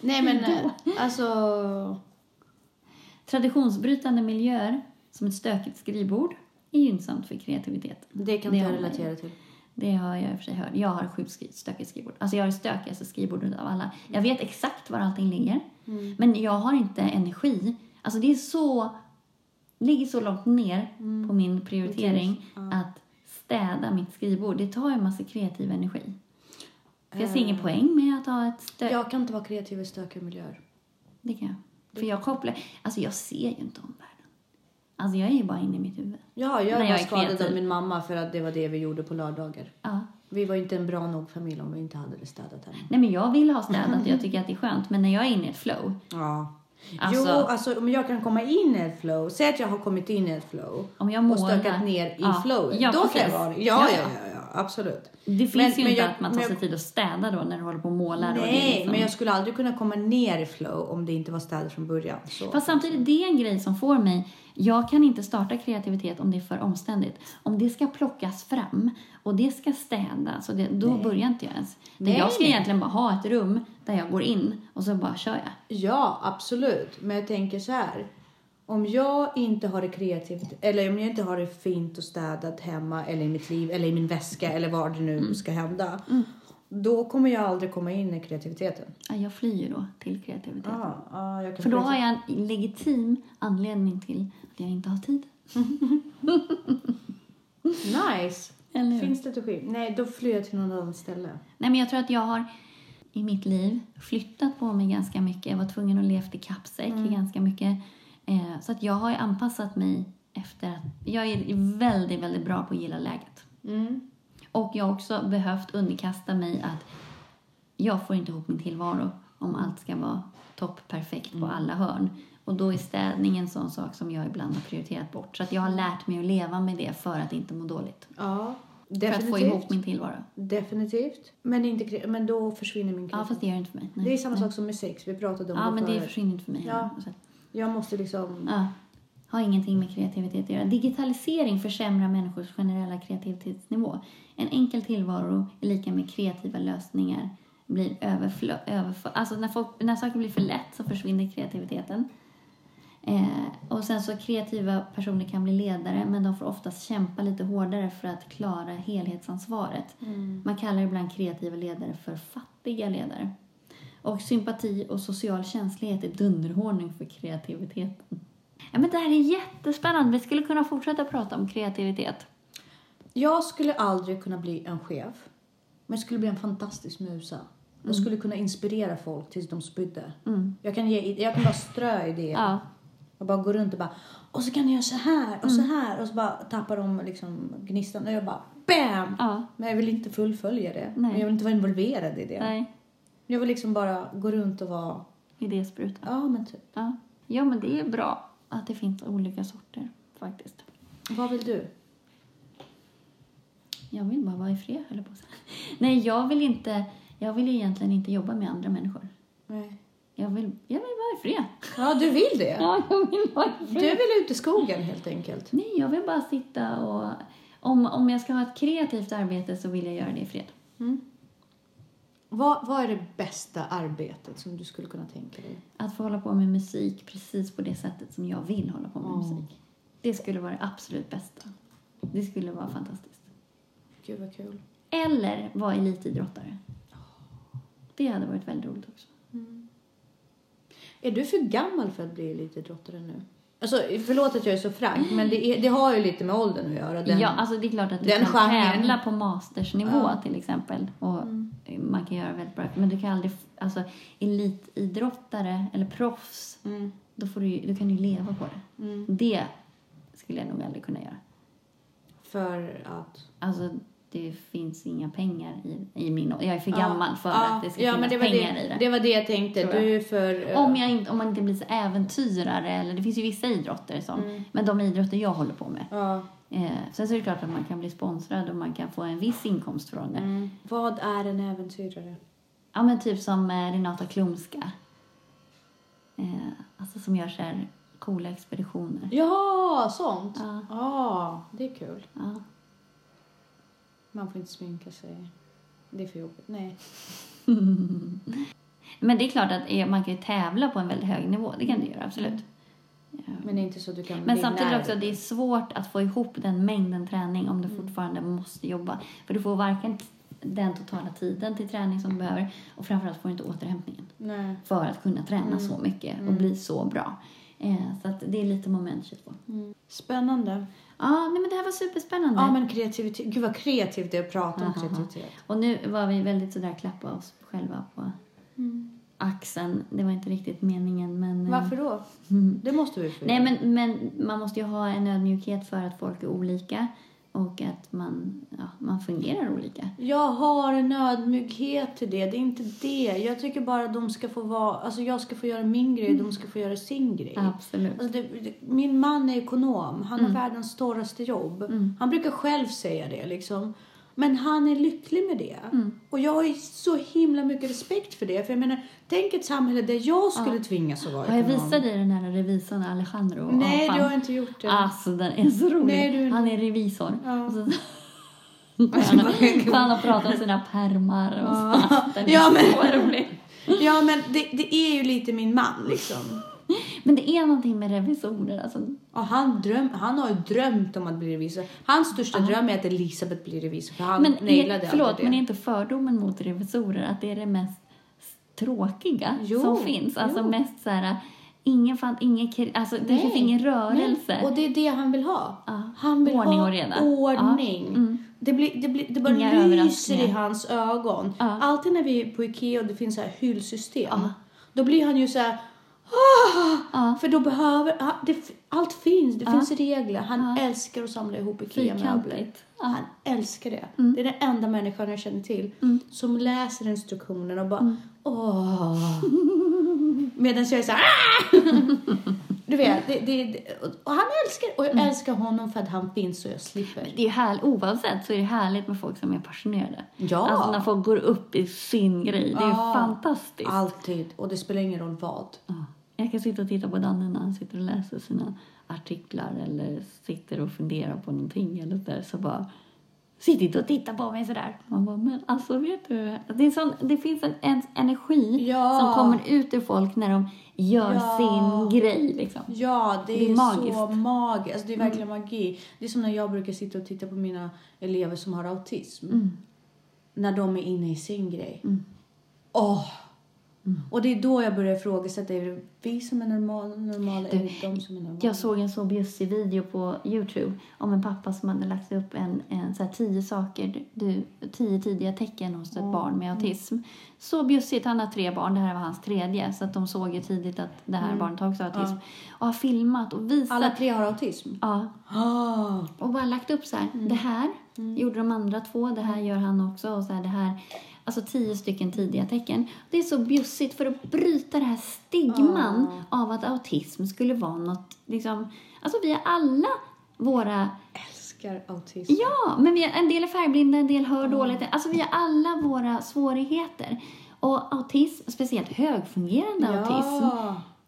Nej men eh, alltså,
Traditionsbrytande miljöer, som ett stökigt skrivbord, är gynnsamt för kreativitet.
det kan
Det
inte
har
jag
man ju.
relatera till.
Det har jag i och för sig hört. Jag har sjukt skri- stökigt skrivbord. Alltså jag har det stökigaste skrivbordet av alla. Jag vet exakt var allting ligger. Men jag har inte energi. Alltså det är så... ligger så långt ner på min prioritering att städa mitt skrivbord. Det tar ju en massa kreativ energi. För jag ser ingen poäng med att ha ett stök.
Jag kan inte vara kreativ i stökiga miljöer.
Det kan jag. För jag kopplar... Alltså jag ser ju inte omvärlden. Alltså jag är ju bara inne i mitt huvud.
Ja,
När
jag
jag
var
är
skadad
kreativ.
av min mamma för att det var det vi gjorde på lördagar.
Ja.
Vi var ju inte en bra nog familj om vi inte hade det städat hemma.
Nej men jag vill ha städat. Jag tycker att det är skönt. Men när jag är inne i ett flow.
Ja.
Alltså-
jo, alltså om jag kan komma in i ett flow. Säg att jag har kommit in i ett flow.
Om jag målar.
och stökat ner i
Ja.
flowet.
Ja,
då kan
precis.
jag vara det.
Ja,
Ja,
ja.
ja, ja, ja, absolut.
Det finns
Men-
ju
men
inte
jag-
att man tar
men
sig
jag-
tid att städa då när du håller på och målar. och det är
Nej,
liksom-
men jag skulle aldrig kunna komma ner i flow om det inte var städat från början. Så.
Fast samtidigt, det är en grej som får mig... Jag kan inte starta kreativitet om det är för omständigt. Om det ska plockas fram och det ska städas, och det, då börjar inte jag ens. Men
Nej.
jag ska egentligen bara ha ett rum där jag går in och så bara kör jag.
Ja, absolut. Men jag tänker så här. Om jag inte har det kreativt, eller om jag inte har det fint och städat hemma eller i mitt liv eller i min väska eller vad det
Mm.
nu ska hända. Då kommer jag aldrig komma in i kreativiteten.
Ja, Jag flyr ju då till kreativitet.
Ja, ja, jag kan
För då har jag en legitim anledning till att jag inte har tid.
Nice!
Eller hur?
Finns det till skillnad? Nej, då flyr jag till något annat ställe.
Nej, men jag tror att jag har i mitt liv flyttat på mig ganska mycket. Jag var tvungen att leva i kappsäck ganska mycket. Eh, så att jag har ju anpassat mig efter att... Jag är väldigt, väldigt bra på att gilla läget. Och jag har också behövt underkasta mig att jag får inte ihop min tillvaro om allt ska vara toppperfekt på alla hörn. Och då är städning en sån sak som jag ibland har prioriterat bort. Så att jag har lärt mig att leva med det för att inte må dåligt.
Ja,
För att
definitivt.
få ihop min tillvaro.
Definitivt. Men, inte, kre- men då försvinner min
Ja,
kreativitet.
fast det gör det inte för mig. Nej.
det är samma sak som med sex. Vi pratade om
Ja,
det
men det
förut.
försvinner inte för mig.
Ja.
heller. Så att-
Jag måste liksom...
Ja. Har ingenting med kreativitet att göra. Digitalisering försämrar människors generella kreativitetsnivå. En enkel tillvaro är lika med kreativa lösningar blir överflö- överför- Alltså när, folk, när saker blir för lätt så försvinner kreativiteten. Eh, och sen så kreativa personer kan bli ledare men de får oftast kämpa lite hårdare för att klara helhetsansvaret. Man kallar ibland kreativa ledare för fattiga ledare. Och sympati och social känslighet är dunderhårning för kreativiteten. Ja, men det här är jättespännande. Vi skulle kunna fortsätta prata om kreativitet.
Jag skulle aldrig kunna bli en chef. Men jag skulle bli en fantastisk musa. Jag
Mm.
skulle kunna inspirera folk tills de spydde. Jag, kan ge, jag kan bara strö idéer.
Ja.
Jag bara går runt och bara, och så kan jag göra så här och så
Mm.
här. Och så bara tappar de liksom gnistan och jag bara, BAM!
Ja.
Men jag vill inte fullfölja det.
Nej.
Men jag vill inte vara involverad i det.
Nej,
Jag vill liksom bara gå runt och vara,
idéspruta.
ja men typ.
Ja. ja, men det är bra att det finns olika sorter faktiskt.
Vad vill du?
Jag vill bara vara i fred, höll jag på att säga. [laughs] Nej, jag vill inte... Jag vill egentligen inte jobba med andra människor.
Nej.
Jag vill, jag vill vara i fred.
Ja, du vill det?
[laughs] Ja, jag vill vara i
Du
fred.
vill ut i skogen helt enkelt?
Nej, jag vill bara sitta och... Om, om jag ska ha ett kreativt arbete så vill jag göra det i fred.
Vad, vad är det bästa arbetet som du skulle kunna tänka dig?
Att få hålla på med musik precis på det sättet som jag vill hålla på med musik. Det skulle vara det absolut bästa. Det skulle vara fantastiskt.
Gud vad kul.
Eller vara elitidrottare. Det hade varit väldigt roligt också.
Är du för gammal för att bli elitidrottare nu? Alltså, förlåt att jag är så frank, men det, är, det har ju lite med åldern att göra. Den,
ja, alltså det är klart att du
den
kan
genren. Mm.
tävla på mastersnivå till exempel. Och Man kan göra väldigt bra. Men du kan aldrig... Alltså elitidrottare eller proffs,
Mm.
då får du, ju- du kan ju leva på det. Det skulle jag nog aldrig kunna göra.
För att...
Alltså, det finns inga pengar i, i min... Jag är för gammal för att det ska
ja,
finnas
men det var
pengar
det,
i det.
Det var det jag tänkte.
Tror jag.
Du är för... eh,
Om, jag inte, om man inte blir så äventyrare, eller det finns ju vissa idrotter som,
Mm.
men de idrotter jag håller på med.
Ja.
Eh, sen så är det klart att man kan bli sponsrad och man kan få en viss inkomst från
Mm.
det.
Vad är en äventyrare?
Ja men typ som eh, Renata Klumska. Eh, alltså som gör så här coola expeditioner.
Jaha, sånt.
Ja.
Ja, det är kul.
Ja.
Man får inte sminka sig. Det är för jobbigt. Nej.
Men det är klart att eh, man kan ju tävla på en väldigt hög nivå, det kan du göra absolut.
Men det är inte så att du kan
Men
vinna
samtidigt
det.
också, det är svårt att få ihop den mängden träning om du
Mm.
fortfarande måste jobba. För du får varken den totala tiden till träning som du
Mm.
behöver och framförallt får du inte återhämtningen
Nej.
för att kunna träna
Mm.
så mycket och bli så bra. Eh, så att det är lite moment 22. Mm.
Spännande.
Ja, nej men det här var superspännande.
Ja, men kreativitet. Gud vad kreativt det är att prata om
Ja.
kreativitet.
Och nu var vi väldigt sådär klappa oss själva på axeln. Det var inte riktigt meningen men... eh,
Mm.
[laughs]
Varför då?
Det måste vi få
Nej
göra.
men, men man måste ju ha en ödmjukhet för att folk är olika och att man, ja, man fungerar olika.
Jag har en ödmjukhet till det. Det är inte det. Jag tycker bara de ska få vara... Alltså jag ska få göra min grej, de ska få göra sin grej.
Absolut.
Alltså det, det, min man är ekonom. Han
Mm.
har världens torraste jobb. Han brukar själv säga det liksom. Men han är lycklig med det.
Mm.
Och jag har ju så himla mycket respekt för det. För jag menar, tänk ett samhälle där jag skulle tvingas att vara
Har jag
ekonom.
visat dig den här revisorn Alejandro?
Nej,
apan?
du har inte gjort det.
Alltså den är så rolig.
Nej, du-
Han är revisor.
Ja.
Och
[laughs]
så... [laughs] Han har- han har pratat om sina pärmar och så. Den är
Ja, men-
så rolig.
[laughs] Ja, men det, det är ju lite min man liksom.
Men det är någonting med revisorer. Alltså,
Och han, dröm, han har ju drömt om att bli revisor. Hans största dröm är att Elisabeth blir revisor. För han
men
nailade
är,
alltid
förlåt,
det.
men är inte fördomen mot revisorer att det är det mest tråkiga
Jo,
som finns? Alltså
jo.
mest så här, ingen fan, ingen, kri- alltså det
Nej,
finns ingen rörelse.
Nej, och det är det han vill ha.
Ja.
Han vill
Ordning
ha
och reda.
ordning.
Ja. Mm.
Det, blir, det, blir, det bara
Inga
lyser i
överraskningar.
hans ögon.
Ja.
Alltid när vi är på Ikea och det finns så här hyllsystem,
Ja.
då blir han ju så här... "Ah!"
Ja.
För då behöver... ah, Det, allt finns, det finns regler. Han älskar att samla ihop Ikea-möbler.
Fyrkantigt. Ja. Mm.
Han älskar det. Det är den enda människan jag känner till som läser instruktionerna och bara
Mm.
åh. Medan jag är så här "Ah!" Du vet, det, det, det- och han älskar, och jag
Mm.
älskar honom för att han finns och jag slipper.
Det är härligt, oavsett så är det härligt med folk som är passionerade.
Ja.
Alltså när folk går upp i sin grej. Det är
Ja.
ju fantastiskt.
Alltid. Och det spelar ingen roll vad.
Ja. Jag kan sitta och titta på Danne när han sitter och läser sina artiklar eller sitter och funderar på någonting eller där. Så bara, sitt inte och titta på mig sådär. Man bara, men alltså vet du. Det, är sån, det finns en, en energi
Ja.
som kommer ut ur folk när de gör
Ja.
sin grej liksom.
Ja, det,
Det är
är, så
magiskt. Mm.
magiskt. Alltså, det är verkligen magi. Det är som när jag brukar sitta och titta på mina elever som har autism.
Mm.
När de är inne i sin grej. Åh!
Mm.
Och det är då jag börjar ifrågasätta, är det vi som är normal, normala
Du,
eller de som är normala?
Jag såg en så bjussig video på Youtube om en pappa som hade lagt upp en, en så här tio saker, du, tio tidiga tecken hos ett barn med autism. Så bjussigt, han har tre barn, det här var hans tredje, så att de såg ju tidigt att det här barnet har också autism. Och har filmat och visat.
Alla tre har autism?
Ja,
Ah.
och bara lagt upp så här,
Mm.
det här gjorde de andra två, det här gör han också och så här, det här. Alltså tio stycken tidiga tecken. Det är så bjussigt för att bryta det här stigman av att autism skulle vara något, liksom, alltså vi är alla våra,
Älskar autism.
ja, men vi är, en del är färgblinda, en del hör dåligt, alltså vi har alla våra svårigheter. Och autism, speciellt högfungerande autism,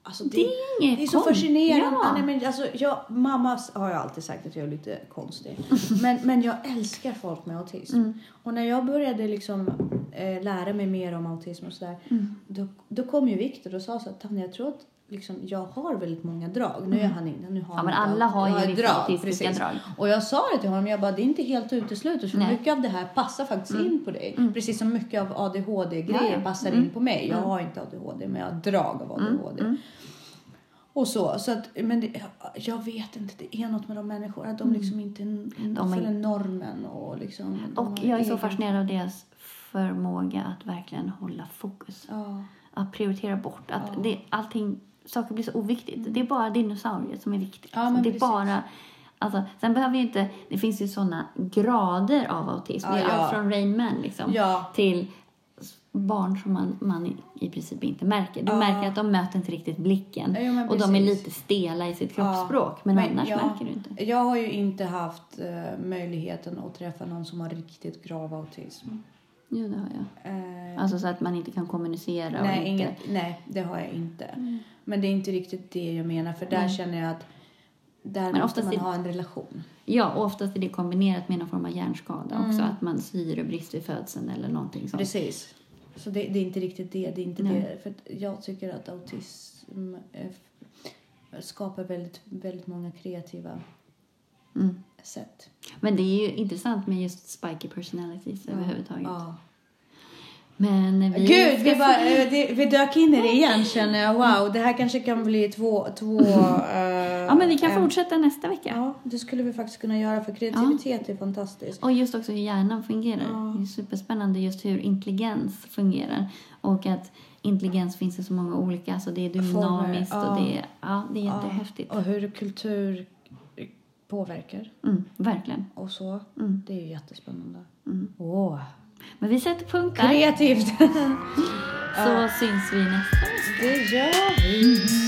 Alltså
det
det,
är inget
det är så
konstigt.
fascinerande.
Ja.
Nej, men alltså, jag, mamma har jag alltid sagt att jag är lite
[laughs]
konstig. Men, men jag älskar folk med autism.
Mm.
Och när jag började liksom, eh, lära mig mer om autism och sådär.
Mm.
Då, då kom ju Viktor och sa så att "Tanja, jag tror att liksom, jag har väldigt många drag. Nu är han inte... Nu har
Mm. Ja,
han
men
inte
alla
aut-
har ju
jag
vissa autistiska
precis.
drag.
Och jag sa det till honom, jag bara det är inte helt uteslutet för
Nej. Mm.
mycket av det här passar faktiskt in på dig. Precis som mycket av ADHD-grejer
Ja, Mm. ja.
passar in på mig. Jag har inte ADHD men jag har drag av
Mm.
ADHD. Och så, så att, men det, jag vet inte, det är något med de människor att de liksom inte
Mm. De är-
följer normen och liksom. de
Och
har
jag är så
egen-
fascinerad av deras förmåga att verkligen hålla fokus.
Ja.
Att prioritera bort. Att det, allting, saker blir så oviktigt. Det är bara dinosaurier som är viktigt.
Mm. Ja, men
det är
precis.
bara, alltså, sen behöver ju inte... Det finns ju såna grader av autism.
Ja,
det är allt
ja.
från Rain Man liksom,
Ja.
till s- barn som man, man i- i princip inte märker. Du märker att de möter inte riktigt blicken.
Ja, men
och de är
precis.
lite stela i sitt
Ja.
kroppsspråk. Men, annars
jag,
märker du inte.
Jag
Mm.
har ju inte haft eh, möjligheten att träffa någon som har riktigt grav autism.
Jo, det har jag.
Eh,
Alltså så att man inte kan kommunicera. och
nej,
inte... Mm.
inget, nej, det har jag inte. Men det är inte riktigt det jag menar för där känner jag att där
Men
måste
oftast
man
i-
ha en relation.
Ja, och oftast är det kombinerat med någon form av hjärnskada också. Att man syrebrist vid födseln eller någonting sånt.
Mm. Precis. Så det, det är inte riktigt det. det, är inte
Nej.
det. För att jag tycker att autism eh, skapar väldigt, väldigt många kreativa
Mm.
sätt.
Men det är ju intressant med just spiky personalities överhuvudtaget. Mm.
Ja.
Men vi...
Gud,
ska
vi,
se-
bara, eh, det, vi dök in i det igen känner jag. Wow, det här kanske kan bli två...
[laughs]
två eh,
Ja, men vi kan fortsätta nästa vecka.
Ja, det skulle vi faktiskt kunna göra för kreativitet är fantastiskt.
Och just också hur hjärnan fungerar. Det är superspännande just hur intelligens fungerar. Och att intelligens finns i så många olika, alltså det är dynamiskt
Former,
och
ja.
det är, ja, det är
Ja,
jättehäftigt.
Och hur kultur påverkar
Mm, verkligen.
och så.
Mm.
Det är ju jättespännande.
Mm.
Åh,
Men vi sätter punkt
Tá?
där,
Kreativt!
så syns vi nästa vecka.
det gör vi!